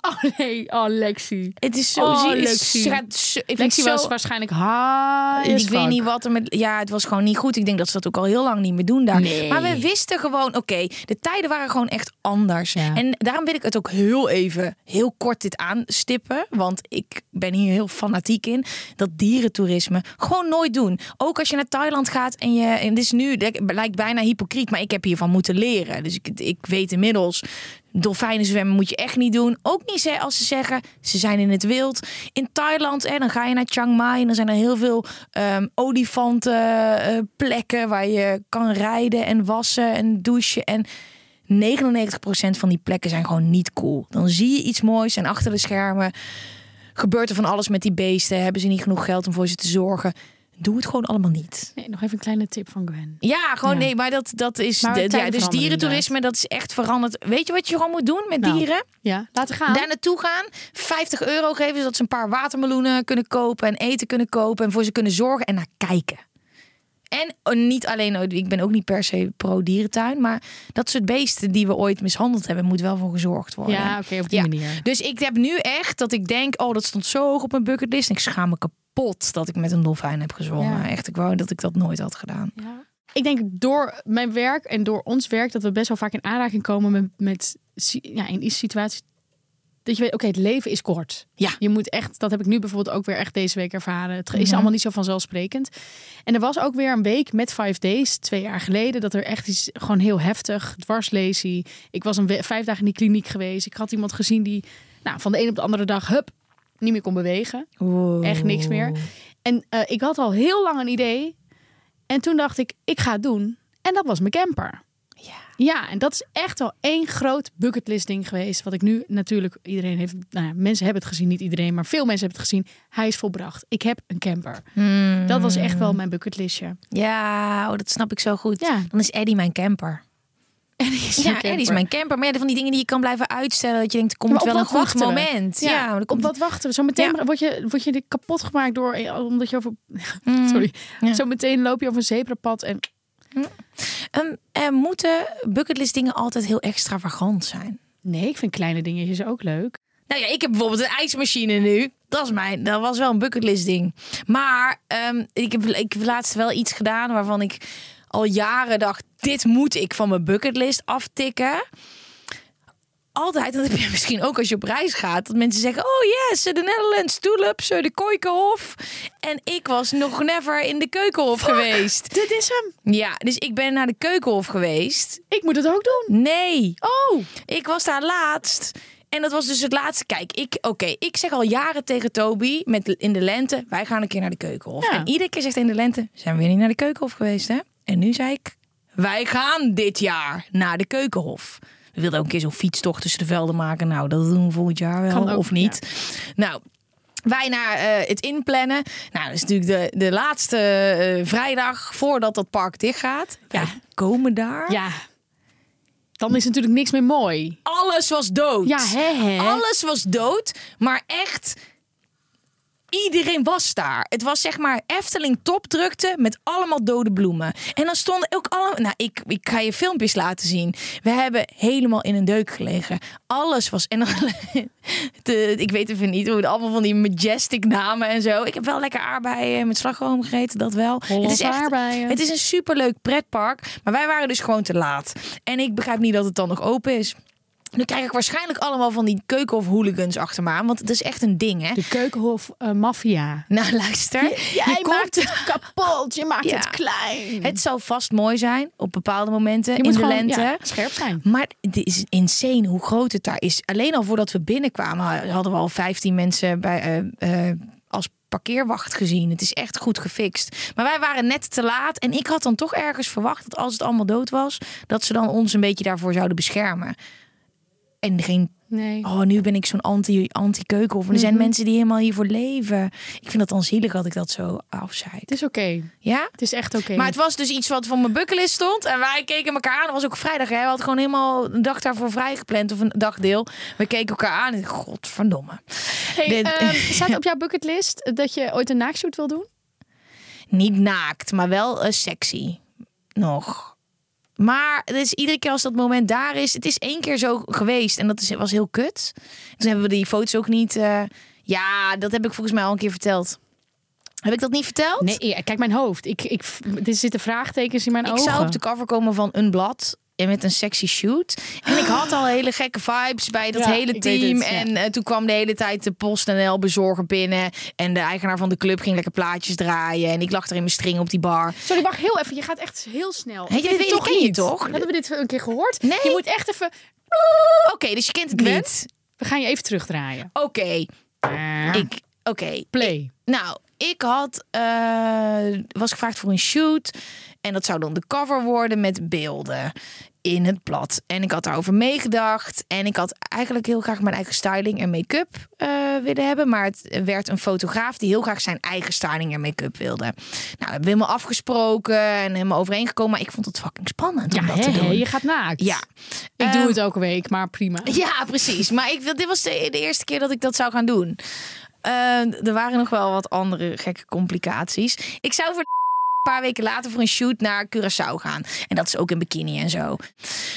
Oh nee, oh Lexi. het is zo Oh, zie- is- Lexi. Ze gaat, zo- ik Lexi vind was zo- waarschijnlijk high Ik as weet fuck. niet wat er met. Ja, het was gewoon niet goed. Ik denk dat ze dat ook al heel lang niet meer doen daar. Nee. Maar we wisten gewoon, oké, de tijden waren gewoon echt anders. Ja. En daarom wil ik het ook heel even, heel kort dit aanstippen. Want ik ben hier heel fanatiek in. Dat dierentoerisme gewoon nooit doen. Ook als je naar Thailand gaat en je. En dit is nu, dit lijkt bijna hypocriet, maar ik heb hiervan moeten leren. Dus ik, ik weet inmiddels. Dolfijnen zwemmen moet je echt niet doen. Ook niet ze- als ze zeggen ze zijn in het wild. In Thailand, en dan ga je naar Chiang Mai. En dan zijn er heel veel ehm olifantenplekken waar je kan rijden en wassen en douchen. En 99% van die plekken zijn gewoon niet cool. Dan zie je iets moois en achter de schermen gebeurt er van alles met die beesten. Hebben ze niet genoeg geld om voor ze te zorgen? Doe het gewoon allemaal niet. Nee, nog even een kleine tip van Gwen. Ja, gewoon Ja. nee, maar dat, dat is. Maar de- tijden ja, dus veranderen dierentoerisme, dat is echt veranderd. Weet je wat je gewoon moet doen met Nou, dieren? Ja, laten gaan. Daar naartoe gaan, 50 euro geven, zodat ze een paar watermeloenen kunnen kopen en eten kunnen kopen en voor ze kunnen zorgen en naar kijken. En eh, niet alleen, ik ben ook niet per se pro-dierentuin, maar dat soort beesten die we ooit mishandeld hebben, moet wel voor gezorgd worden. Ja, oké, op die manier. Dus ik heb nu echt dat ik denk, oh, dat stond zo hoog op mijn bucketlist. En ik schaam me kapot dat ik met een dolfijn heb gezwommen. Ja. Echt, ik wou dat ik dat nooit had gedaan. ik denk door mijn werk en door ons werk dat we best wel vaak in aanraking komen met, met si- ja, in die situatie. Dat je weet, oké, het leven is kort. Ja. Je moet echt, dat heb ik nu bijvoorbeeld ook weer echt deze week ervaren. Het is allemaal niet zo vanzelfsprekend. En er was ook weer een week met Five Days, twee jaar geleden, dat er echt iets gewoon heel heftig, dwarslesie. Ik was een we- vijf dagen in die kliniek geweest. Ik had iemand gezien die nou, van de een op de andere dag, hup, niet meer kon bewegen. Echt niks meer. En eh, ik had al heel lang een idee. En toen dacht ik, ik ga het doen. En dat was mijn camper. Ja, en dat is echt al één groot bucketlist ding geweest. Wat ik nu natuurlijk, iedereen heeft, nou ja, mensen hebben het gezien, niet iedereen, maar veel mensen hebben het gezien. Hij is volbracht. Ik heb een camper. Hmm. Dat was echt wel mijn bucketlistje. Ja, oh, dat snap ik zo goed. Ja. Dan is Eddie mijn camper. En die is Ja, een Eddie is camper. mijn camper. Maar ja, van die dingen die je kan blijven uitstellen. Dat je denkt, er Maar komt op wel een wat goed wachten we? moment. Ja, Ja, maar er Op komt wat wachten we? Zo meteen Ja. word, je, word je kapot gemaakt door, eh, omdat je over, sorry, Hmm. ja. zo meteen loop je over een zebrapad en Ehm, eh, moeten bucketlist dingen altijd heel extravagant zijn? nee, ik vind kleine dingetjes ook leuk. Nou ja, ik heb bijvoorbeeld een ijsmachine nu. Dat is mijn, dat was wel een bucketlist ding. Maar ehm, ik, heb, ik heb laatst wel iets gedaan waarvan ik al jaren dacht: dit moet ik van mijn bucketlist aftikken. Altijd, en dat heb je misschien ook als je op reis gaat, dat mensen zeggen: Oh yes, de Netherlands tulips, eh, de Kooikenhof. En ik was nog never in de Keukenhof geweest. Dit is hem. Ja, dus ik ben naar de Keukenhof geweest. Ik moet het ook doen. Nee. Oh, Ik was daar laatst. En dat was dus het laatste. Kijk, ik, oké, ik zeg al jaren tegen Toby met, in de lente: wij gaan een keer naar de keukenhof. Ja. En iedere keer zegt hij in de lente: zijn we weer niet naar de keukenhof geweest, hè? En nu zei ik: wij gaan dit jaar naar de keukenhof. We wilden ook een keer zo'n fietstocht tussen de velden maken. Nou, dat doen we volgend jaar wel, Kan ook, of niet? Nou. Wij naar eh, het inplannen. Nou, dat is natuurlijk de, de laatste eh, vrijdag voordat dat park dichtgaat. Ja, komen daar. ja. Dan is natuurlijk niks meer mooi. Alles was dood. Ja, hè, hè. Alles was dood, maar echt. Iedereen was daar. Het was zeg maar Efteling topdrukte met allemaal dode bloemen. En dan stonden ook allemaal... Nou, ik, ik ga je filmpjes laten zien. We hebben helemaal in een deuk gelegen. Alles was... En dan, de, ik weet even niet hoe het allemaal van die majestic namen en zo. Ik heb wel lekker aardbeien met slagroom gegeten, dat wel. het is Hollandse echt, aardbeien. Het is een superleuk pretpark. Maar wij waren dus gewoon te laat. En ik begrijp niet dat het dan nog open is. Dan krijg ik waarschijnlijk allemaal van die keuken of hooligans achter me aan. Want het is echt een ding, hè? De Keukenhof eh, Maffia. Nou, luister. je komt... het kapot. Je maakt Ja. klein. Het zal vast mooi zijn op bepaalde momenten je in moet de gewoon lente. ja, scherp zijn. Maar het is insane hoe groot het daar is. Alleen al voordat we binnenkwamen hadden we al 15 mensen bij, eh, eh, als parkeerwacht gezien. Het is echt goed gefixt. Maar wij waren net te laat. En ik had dan toch ergens verwacht dat als het allemaal dood was... dat ze dan ons een beetje daarvoor zouden beschermen. En geen Nee. Oh, nu ben ik zo'n anti- anti-keukenhof. er zijn mensen die helemaal hiervoor leven. Ik vind dat dan zielig dat ik dat zo afzei. Het is oké. Ja? Het is echt oké. Maar het was dus iets wat van mijn bucketlist stond. En wij keken elkaar aan. Dat was ook vrijdag. Hè? We hadden gewoon helemaal een dag daarvoor vrijgepland. Of een dagdeel. We keken elkaar aan. en Godverdomme. Hey, Dit- ehm, staat op jouw bucketlist dat je ooit een naaktshoot wil doen? Niet naakt, maar wel eh, sexy. Nog. Maar het is iedere keer als dat moment daar is. Het is één keer zo geweest. En dat is, was heel kut. Toen hebben we die foto's ook niet... eh, ja, dat heb ik volgens mij al een keer verteld. Heb ik dat niet verteld? Nee, ja, kijk mijn hoofd. Ik, ik, er zitten vraagtekens in mijn Ik ogen. zou op de cover komen van een blad. En met een sexy shoot. En ik had al hele gekke vibes bij dat Ja, hele ik weet team. het, ja. En eh, toen kwam de hele tijd de PostNL bezorger binnen. En de eigenaar van de club ging lekker plaatjes draaien. En ik lag er in mijn string op die bar. Sorry, wacht heel even. Je gaat echt heel snel. Hey, Ik dit weet het ken je niet. toch? Hebben we dit een keer gehoord? Nee. Je moet echt even... Oké, dus je kent het niet. We gaan je even terugdraaien. Oké, ik. Oké, Play. nou, ik had. eh, was gevraagd voor een shoot. En dat zou dan de cover worden met beelden in het blad. En ik had daarover meegedacht. En ik had eigenlijk heel graag mijn eigen styling en make-up eh, willen hebben. Maar het werd een fotograaf die heel graag zijn eigen styling en make-up wilde. Nou, we hebben we helemaal afgesproken en helemaal overeengekomen. Maar ik vond het fucking spannend Ja, om dat hè, te hè, doen. je gaat naakt. Ja. Ik doe Ehm, het elke week, maar prima. ja, precies. Maar ik, wil- dit was de, de eerste keer dat ik dat zou gaan doen. Eh, er waren nog wel wat andere gekke complicaties. Ik zou voor een paar weken later voor een shoot naar Curaçao gaan. En dat is ook in bikini en zo.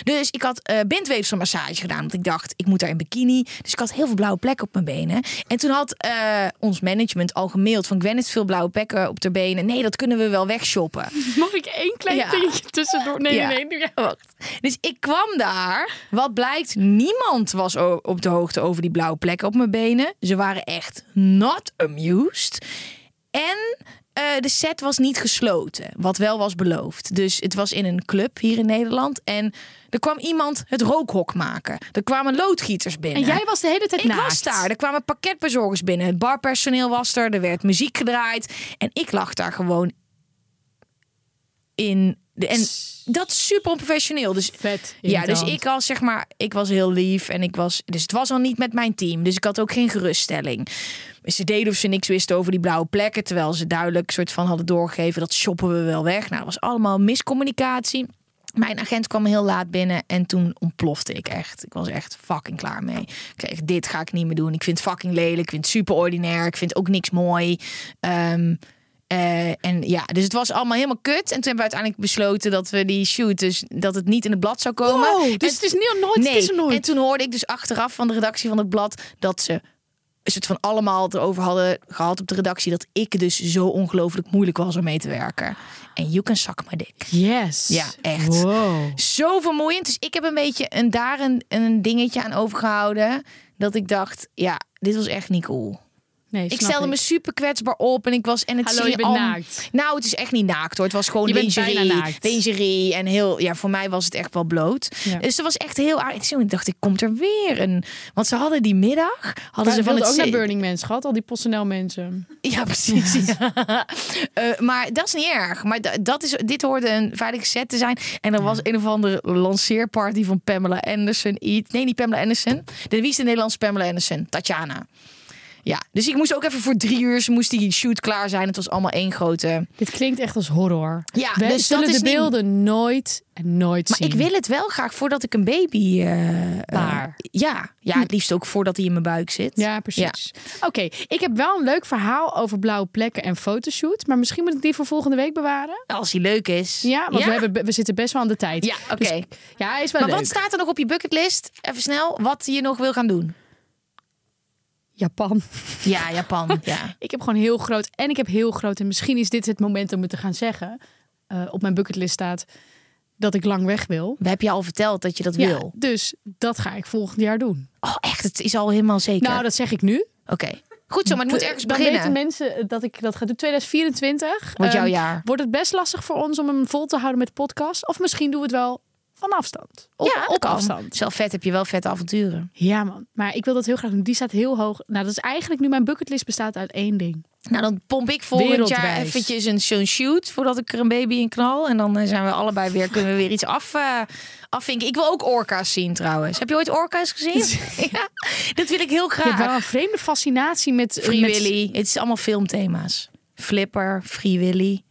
Dus ik had eh bindweefselmassage gedaan. Want ik dacht, ik moet daar in bikini. Dus ik had heel veel blauwe plekken op mijn benen. En toen had eh, ons management al gemaild van... Gwen heeft veel blauwe plekken op haar benen. Nee, dat kunnen we wel wegshoppen. Mag ik één klein Ja. dingetje tussendoor? Nee, Ja. nee, nee. doe jij. Wacht. Dus ik kwam daar. Wat blijkt, niemand was o- op de hoogte over die blauwe plekken op mijn benen. Ze waren echt not amused. En eh, de set was niet gesloten, wat wel was beloofd. Dus het was in een club hier in Nederland. En er kwam iemand het rookhok maken. Er kwamen loodgieters binnen. En jij was de hele tijd Ik naakt. was daar. Er kwamen pakketbezorgers binnen. Het barpersoneel was er. Er werd muziek gedraaid. En ik lag daar gewoon in De- En dat is super onprofessioneel. Dus Vet ja, dus irritant. ik was zeg maar, ik was heel lief en ik was, dus het was al niet met mijn team, dus ik had ook geen geruststelling. Ze deden of ze niks wisten over die blauwe plekken, terwijl ze duidelijk soort van hadden doorgegeven dat shoppen we wel weg. Nou, dat was allemaal miscommunicatie. Mijn agent kwam heel laat binnen en toen ontplofte ik echt. Ik was echt fucking klaar mee. Ik zei echt, dit ga ik niet meer doen. Ik vind het fucking lelijk. Ik vind het super ordinair. Ik vind ook niks mooi. Ehm, eh, en ja, dus het was allemaal helemaal kut. En toen hebben we uiteindelijk besloten dat we die shoot, dus dat het niet in het blad zou komen. Wow, En- dus het is niet- nooit- het nee. is er nooit. En toen hoorde ik dus achteraf van de redactie van het blad dat ze een soort van allemaal het erover hadden gehad op de redactie dat ik dus zo ongelooflijk moeilijk was om mee te werken. En you can suck my dick. Yes. Ja, echt. Wow. Zo vermoeiend. Dus ik heb een beetje een, daar een, een dingetje aan overgehouden. Dat ik dacht, ja, dit was echt niet cool. Nee, Ik snap stelde me super kwetsbaar op en ik was en het Hallo, zie je bent al- naakt. Nou, het is echt niet naakt hoor. Het was gewoon Je bent lingerie, bijna naakt. lingerie en heel. Ja, voor mij was het echt wel bloot. Ja. Dus dat was echt heel aardig. Toen dacht ik, komt er weer een? Want ze hadden die middag hadden Maar ze ze van wilden het ook naar C- Burning Man, schat. Al die PostNL mensen. Ja, precies. ja. Eh, maar dat is niet erg. Maar da- dat is, dit hoorde een veilige set te zijn. En er was een of andere lanceerparty van Pamela Anderson. Iets. Nee, niet Pamela Anderson. De, wie is de Nederlandse Pamela Anderson? Tatjana. Ja, dus ik moest ook even voor drie uur moest die shoot klaar zijn. Het was allemaal één grote. Dit klinkt echt als horror. Ja, We dus zullen dat is de niet- beelden nooit en nooit Maar zien. ik wil het wel graag voordat ik een baby. eh, eh, Baar. ja. ja, het liefst ook voordat hij in mijn buik zit. Ja, precies. Oké, ik heb wel een leuk verhaal over blauwe plekken en fotoshoot. Maar misschien moet ik die voor volgende week bewaren. Als hij leuk is. Ja, want We, hebben, we zitten best wel aan de tijd. Dus Ja, oké. Ja, hij is wel maar leuk. wat staat er nog op je bucketlist? Even snel, wat je nog wil gaan doen. Japan. Ja, Japan. ja. Ik heb gewoon heel groot en ik heb heel groot. En misschien is dit het moment om het te gaan zeggen. eh, op mijn bucketlist staat dat ik lang weg wil. We hebben je al verteld dat je dat wil. dus dat ga ik volgend jaar doen. Oh, echt? Het is al helemaal zeker. Nou, dat zeg ik nu. Oké. Goed zo, maar het moet ergens Dan weten beginnen. mensen eh, dat ik dat ga doen. 2024. Wordt jouw ehm, jaar. Wordt het best lastig voor ons om hem vol te houden met de podcast. Of misschien doen we het wel van afstand. Op, ja, dat op kan. afstand. Zelf vet heb je wel vette avonturen. Ja man, maar ik wil dat heel graag doen. Die staat heel hoog. Nou, dat is eigenlijk nu mijn bucketlist bestaat uit één ding. Nou, dan pomp ik volgend jaar Wereldwijs. eventjes een zo'n shoot voordat ik er een baby in knal. En dan eh, zijn we allebei weer, kunnen we weer iets af, eh, afvinken. Ik wil ook orka's zien trouwens. Heb je ooit orka's gezien? ja, dat wil ik heel Ik heb wel graag. een vreemde fascinatie met... eh, Free met- Willy. Het is allemaal filmthema's. Flipper, Free Willy,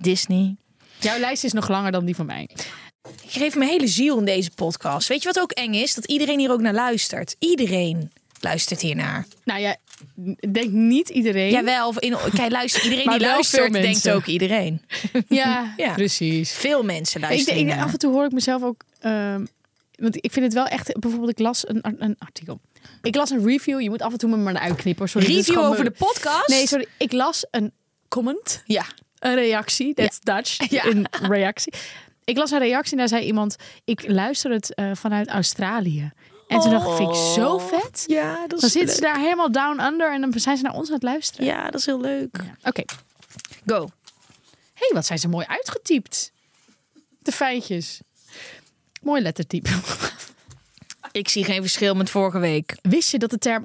Disney. Jouw lijst is nog langer dan die van mij. Ik geef mijn hele ziel in deze podcast. Weet je wat ook eng is? Dat iedereen hier ook naar luistert. Iedereen luistert hiernaar. Nou ja, ik denk niet iedereen. Jawel, of in, kijk, luister, iedereen Maar die wel veel luistert denkt mensen. ook iedereen. Ja, Ja. precies. eh, Veel mensen Ik, luisteren denk- hiernaar. af en toe hoor ik mezelf ook... ehm, want ik vind het wel echt... Bijvoorbeeld, ik las een, ar- een artikel. Ik las een review. Je moet af en toe me maar uitknippen. Sorry, dit is Review gewoon over de mijn- podcast? Nee, sorry. Ik las een comment. Ja. Een reactie. That's Dutch. Ja. Een reactie. Ik las een reactie en daar zei iemand... Ik luister het eh, vanuit Australië. En toen dacht ik, vind ik zo vet. Ja, dat Dan zitten ze daar helemaal down under en dan zijn ze naar ons aan het luisteren. Ja, dat is heel leuk. Oké. Go. Hé, hey, wat zijn ze mooi uitgetypt. De feitjes. Mooi lettertype. Ik zie geen verschil met vorige week. Wist je dat de term...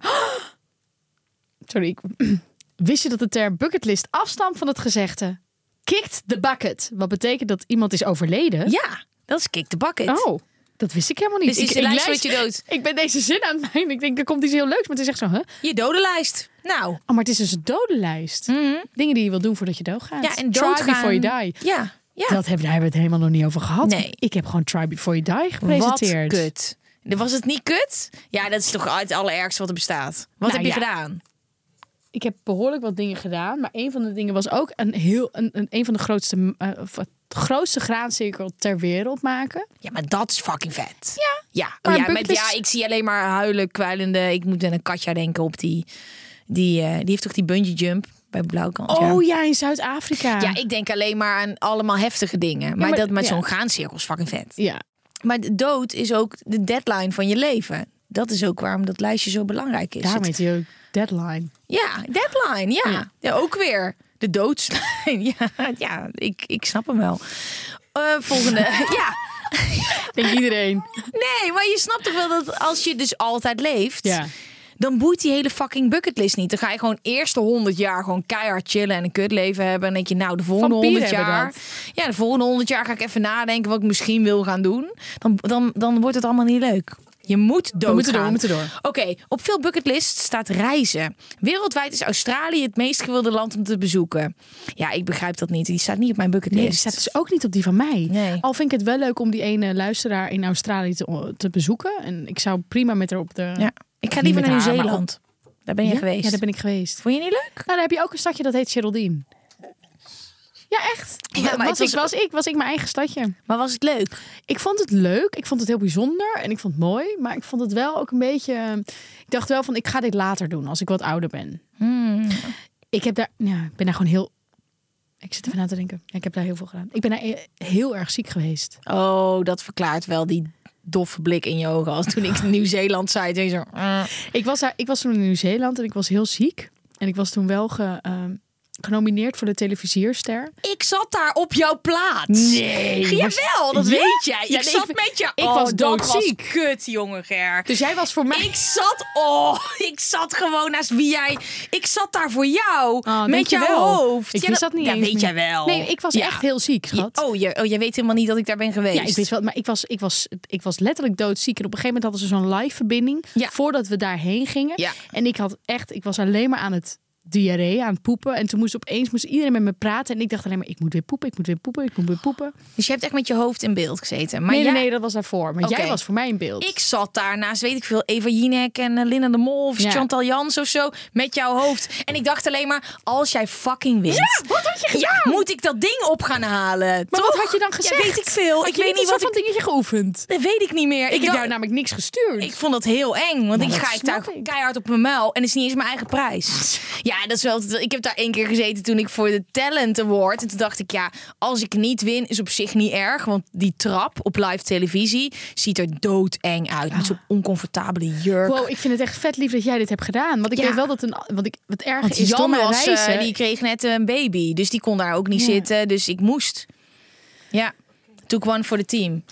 Sorry. ik- Wist je dat de term bucketlist afstamt van het gezegde... Kicked the bucket. Wat betekent dat iemand is overleden? Ja, dat is kick the bucket. Oh, dat wist ik helemaal niet. Dus is ik, de ik lijst met je dood. Ik ben deze zin aan het mijn. Ik denk, er komt iets heel leuks. Maar het is echt zo, hè? Je dodenlijst. Nou, Oh, maar het is dus een dodenlijst. Dingen die je wil doen voordat je doodgaat. Mhm. ja, en Try doodgaan. before you die. Ja, ja. Dat hebben, daar hebben we het helemaal nog niet over gehad. Nee. Ik heb gewoon Try Before You Die Wat gepresenteerd. kut. Was het niet kut? Ja, dat is toch het allerergste wat er bestaat. Nou, Wat heb je ja. gedaan? Ik heb behoorlijk wat dingen gedaan. Maar een van de dingen was ook een, heel, een, een, een van de grootste, eh, of het grootste graancirkel ter wereld maken. Ja, maar dat is fucking vet. Ja. Ja, Maar oh, ja, een met, bucketlist- ja ik zie alleen maar huilen, kwijlende. Ik moet aan een katja denken op die... Die, eh, die heeft toch die bungee jump bij Blauwkant? Oh ja, in Zuid-Afrika. Ja, ik denk alleen maar aan allemaal heftige dingen. Maar, maar- dat met ja. zo'n graancirkel is fucking vet. Ja. Maar de dood is ook de deadline van je leven. Dat is ook waarom dat lijstje zo belangrijk is. Daarmee Het- is je deadline. Ja, deadline, ja. ja. Ja. ook weer. De doodslijn. Ja, ja ik, ik snap hem wel. Eh, volgende. ja. Denk iedereen. Nee, maar je snapt toch wel dat als je dus altijd leeft... Ja. Dan boeit die hele fucking bucketlist niet. Dan ga je gewoon eerste 100 jaar gewoon keihard chillen en een kutleven hebben. En dan denk je, nou, de volgende Vampieren 100 hebben jaar. Ja, de volgende 100 jaar ga ik even nadenken wat ik misschien wil gaan doen. Dan, dan, dan wordt het allemaal niet leuk. Je moet doodgaan. moeten door, we moeten door. Oké, op veel bucketlists staat reizen. Wereldwijd is Australië het meest gewilde land om te bezoeken. Ja, ik begrijp dat niet. Die staat niet op mijn bucketlist. Nee, die staat dus ook niet op die van mij. Nee. Al vind ik het wel leuk om die ene luisteraar in Australië te, te bezoeken. En ik zou prima met haar op de... Ja. Ik ga Niet liever met naar haar, maar Nieuw-Zeeland. Daar ben je Ja? geweest. Ja, daar ben ik geweest. Vond je niet leuk? Nou, daar heb je ook een stadje dat heet Geraldine. Ja, echt. Ja, maar was, het ik, was- was ik, was ik mijn eigen stadje. Maar was het leuk? Ik vond het leuk, ik vond het heel bijzonder en ik vond het mooi. Maar ik vond het wel ook een beetje... eh, Ik dacht wel van, ik ga dit later doen als ik wat ouder ben. Hmm. Ik heb daar, ja, ik ben daar gewoon heel... Ik zit even na te denken. Ja, ik heb daar heel veel gedaan. Ik ben daar e- heel erg ziek geweest. Oh, dat verklaart wel die doffe blik in je ogen. Als toen ik Nieuw-Zeeland zei, toen je zo... eh. Ik was, daar, ik was toen in Nieuw-Zeeland en ik was heel ziek. En ik was toen wel ge, ehm, genomineerd voor de televisierster. Ik zat daar op jouw plaats. Nee. Jawel, dat Ja? weet jij. Ik Ja, nee, zat ik- met je... ik Oh, was dat was doodziek. kut, jongen Ger. Dus jij was voor mij... Ik zat, oh, ik zat gewoon naast wie jij. Ik zat daar voor jou Oh, met weet je jouw wel. hoofd. Ik Ja, wist dat- dat niet Ja, eens weet meer. jij wel. Nee, ik was Ja. echt heel ziek, schat. Ja, oh, je, oh, jij weet helemaal niet dat ik daar ben geweest. Ja, ik weet wel, maar ik was, ik was, ik was letterlijk doodziek. En op een gegeven moment hadden ze zo'n live verbinding Ja. voordat we daarheen gingen. Ja. En ik had echt, ik was alleen maar aan het diarree, aan het poepen. En toen moest opeens moest iedereen met me praten. En ik dacht alleen maar, ik moet weer poepen, ik moet weer poepen, ik moet weer poepen. Dus je hebt echt met je hoofd in beeld gezeten. Maar nee, jij, nee, nee, dat was daarvoor. Maar Oké. jij was voor mij in beeld. ik zat daar naast, weet ik veel, Eva Jinek en eh, Linda de Mol of Ja. Chantal Jans of zo met jouw hoofd. En ik dacht alleen maar, als jij fucking wint, ja, wat had je gedaan? moet ik dat ding op gaan halen. maar wat had je dan gezegd? Ja, weet ik veel. Had Ik je weet niet een wat soort ik... van dingetje geoefend. Dat weet ik niet meer. Ik heb dacht- jou namelijk niks gestuurd. Ik vond dat heel eng, want ik dat ga ik daar snap ik. keihard op mijn muil en het is niet eens mijn eigen prijs. Ja, dat is wel. Ik heb daar één keer gezeten toen ik voor de Talent Award en toen dacht ik ja, als ik niet win is op zich niet erg, want die trap op live televisie ziet er doodeng uit met zo'n oncomfortabele jurk. Ah. Wow, ik vind het echt vet lief dat jij dit hebt gedaan. Want ik Ja. weet wel dat een, want ik, wat erg Want is door Jan mijn was, eh, reizen- die kreeg net een baby, dus die kon daar ook niet zitten, dus ik moest. Ja, took one for the team.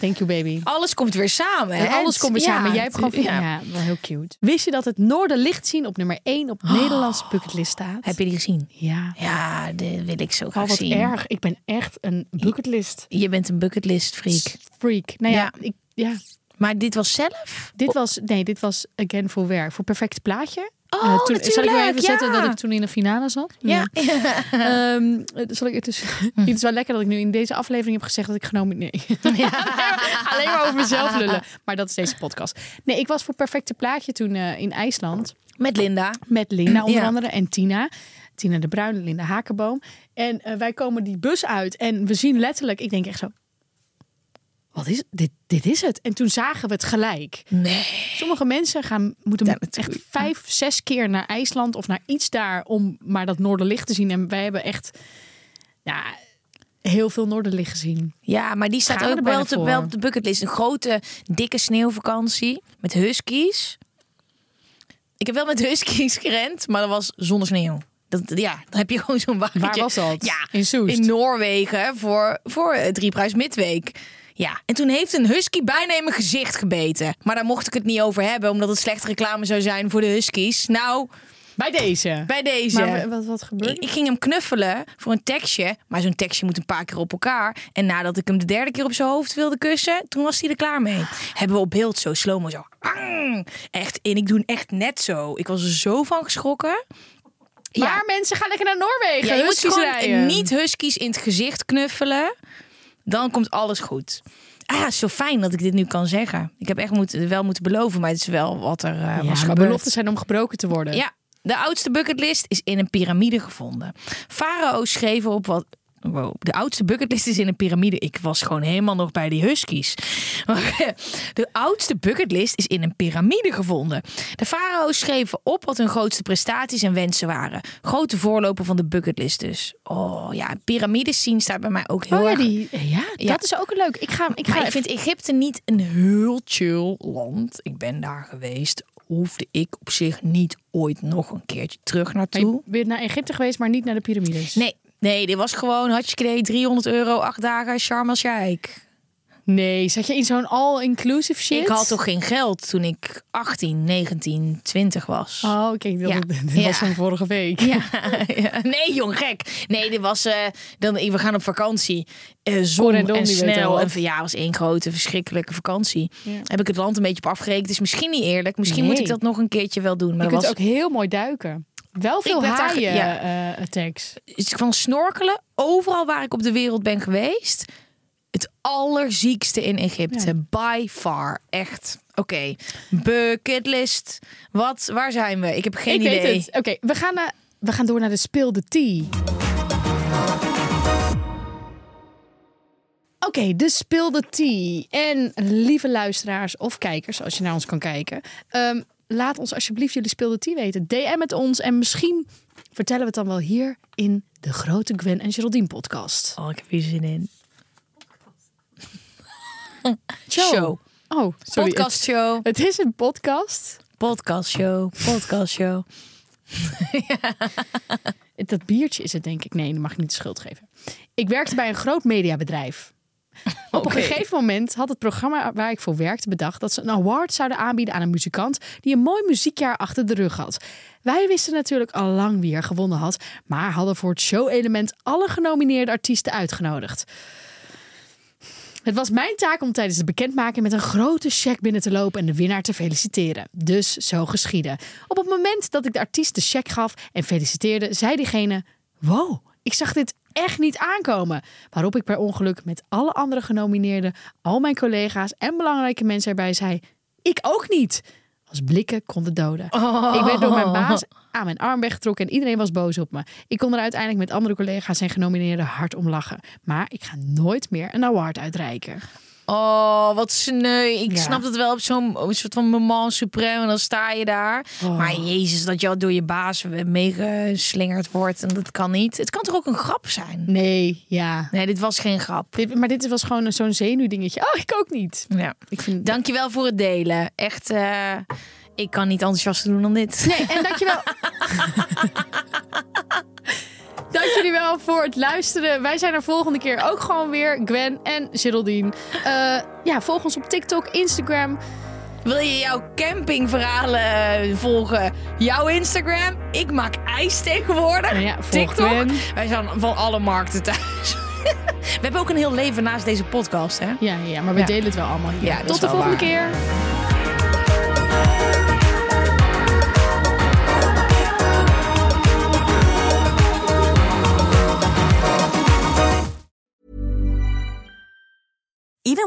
Thank you baby. Alles komt weer samen. En hè? alles komt weer Ja, samen. Jij hebt gewoon... ja. Ja. wel heel cute. Wist je dat het Noorderlicht zien op nummer 1 op de Nederlandse bucketlist staat? Oh. Heb je die gezien? Ja. Ja, dat wil ik zo Al graag Oh, wat zien. erg. Ik ben echt een bucketlist Je bent een bucketlist freak. freak. Nou ja, Ja. Ik, ja. Maar dit was zelf? Dit was... Nee, dit was Again voor Werk. Voor Perfect Plaatje. Oh, Eh, toen, Zal ik wel natuurlijk, even zetten ja. dat ik toen in de finale zat? Ja. Hm. Ehm, eh, zal ik het dus... Het is wel lekker dat ik nu in deze aflevering heb gezegd dat ik genomen... Nee. Alleen maar over mezelf lullen. Maar dat is deze podcast. Nee, ik was voor Perfecte Plaatje toen eh, in IJsland. Met Linda. Met Linda onder Ja. andere en Tina. Tina de Bruin, Linda Hakenboom. En eh, wij komen die bus uit en we zien letterlijk, ik denk echt zo... Wat is dit? Dit is het. En toen zagen we het gelijk. Nee. Sommige mensen gaan, moeten Ja, echt natuurlijk. vijf, zes keer naar IJsland of naar iets daar om maar dat Noorderlicht te zien. En wij hebben echt ja, heel veel Noorderlicht gezien. Ja, maar die staat Gaan we ook er wel bijna op de- voor? wel op de bucketlist. Een grote, dikke sneeuwvakantie met huskies. Ik heb wel met huskies gerend, maar dat was zonder sneeuw. Dat, ja, dan heb je gewoon zo'n wagentje. Waar was dat? Ja, In Soest? In Noorwegen voor, voor het Drieprijs Midweek. Ja, en toen heeft een husky bijna in mijn gezicht gebeten. Maar daar mocht ik het niet over hebben, omdat het slechte reclame zou zijn voor de huskies. Nou, Bij deze. bij deze. Maar wat, wat gebeurde? Ik, ik ging hem knuffelen voor een tekstje. Maar zo'n tekstje moet een paar keer op elkaar. En nadat ik hem de derde keer op zijn hoofd wilde kussen, toen was hij er klaar mee. Hebben we op beeld zo slow-mo zo. "Ang!" Echt, en ik doe hem echt net zo. Ik was er zo van geschrokken. Maar ja, mensen gaan lekker naar Noorwegen. ja, je moet Huskies gewoon rijden. niet huskies in het gezicht knuffelen. Dan komt alles goed. Ah, zo fijn dat ik dit nu kan zeggen. Ik heb echt moet, wel moeten beloven, maar het is wel wat er eh, Ja, was maar gebeurd. beloftes zijn om gebroken te worden. Ja, de oudste bucketlist is in een piramide gevonden. Farao's schreven op wat. Wow, de oudste bucketlist is in een piramide. Ik was gewoon helemaal nog bij die huskies. De oudste bucketlist is in een piramide gevonden. De farao's schreven op wat hun grootste prestaties en wensen waren. Grote voorloper van de bucketlist dus. Oh ja, piramides zien staat bij mij ook heel Oh ja, erg. die, ja, Ja. dat is ook leuk. Ik ga, ik ga Maar ik vind Egypte niet een heel chill land. Ik ben daar geweest. Hoefde ik op zich niet ooit nog een keertje terug Maar naartoe. je bent naar Egypte geweest, maar niet naar de piramides. Nee, nee, dit was gewoon hartstikke idee, 300 euro, acht dagen, Sharm el Sheikh. Nee, zat je in zo'n all-inclusive shit? Ik had toch geen geld toen ik 18, 19, 20 was? Oh, oké. ik dacht Ja. dat Dit Ja. was van vorige week. Ja, ja. nee jong, gek. Nee, dit was, eh, dan, we gaan op vakantie. Eh zon Cor en en, Don, die weten snel. wat. En van, ja, het was één grote verschrikkelijke vakantie. Heb ik het land een beetje op afgerekend. Dus misschien niet eerlijk. Misschien moet Nee. ik dat nog een keertje wel doen. Maar Je dat kunt was, ook heel mooi duiken. Wel veel werd daar ge- haaien ja. eh, attacks. iets van snorkelen. Overal waar ik op de wereld ben geweest. Het allerziekste in Egypte. By far. Echt. Oké. Bucketlist. Wat? Waar zijn we? Ik heb geen ik idee. weet het. Oké, we, gaan naar- we gaan door naar de speel de tea. Oké, de speel de tea. En lieve luisteraars of kijkers, als je naar ons kan kijken. ehm, laat ons alsjeblieft jullie speel de tea weten. DM het ons en misschien vertellen we het dan wel hier in de grote Gwen en Geraldine podcast. Oh, ik heb hier zin in. Show. Show. Oh, sorry. podcast show. Het, het is een podcast. Podcast show. Podcast show. Dat biertje is het, denk ik. Nee, dat mag ik niet de schuld geven. Ik werkte bij een groot mediabedrijf. Op een gegeven moment had het programma waar ik voor werkte bedacht dat ze een award zouden aanbieden aan een muzikant die een mooi muziekjaar achter de rug had. Wij wisten natuurlijk al lang wie er gewonnen had, maar hadden voor het show-element alle genomineerde artiesten uitgenodigd. Het was mijn taak om tijdens het bekendmaken met een grote cheque binnen te lopen en de winnaar te feliciteren. Dus zo geschiedde. Op het moment dat ik de artiest de cheque gaf en feliciteerde, zei diegene: Wow, ik zag dit echt niet aankomen. Waarop ik per ongeluk met alle andere genomineerden, al mijn collega's en belangrijke mensen erbij zei: Ik ook niet. Als blikken konden doden. Ik werd door mijn baas aan mijn arm weggetrokken en iedereen was boos op me. Ik kon er uiteindelijk met andere collega's en genomineerden hard om lachen. Maar ik ga nooit meer een award uitreiken. Oh, wat sneu. Ik Ja. snap dat wel op zo'n op een soort van moment supreme. En dan sta je daar. Maar jezus, dat je al door je baas meegeslingerd wordt. En dat kan niet. Het kan toch ook een grap zijn? Nee, ja. Nee, dit was geen grap. Dit, maar dit was gewoon zo'n zenuwdingetje. Oh, ik ook niet. Ja. Ik vind Dankjewel voor het delen. Echt, eh, ik kan niet enthousiaster doen dan dit. Nee, en dankjewel. Dank jullie wel voor het luisteren. Wij zijn er volgende keer ook gewoon weer. Gwen en Geraldine. Eh, ja, volg ons op TikTok, Instagram. Wil je jouw campingverhalen eh, volgen? Jouw Instagram? Ik maak ijs tegenwoordig. Nou ja, volg TikTok. Gwen. Wij zijn van alle markten thuis. We hebben ook een heel leven naast deze podcast, hè? Ja, ja maar we Ja. delen het wel allemaal hier. Ja, dat is Tot de wel volgende waar. keer. Even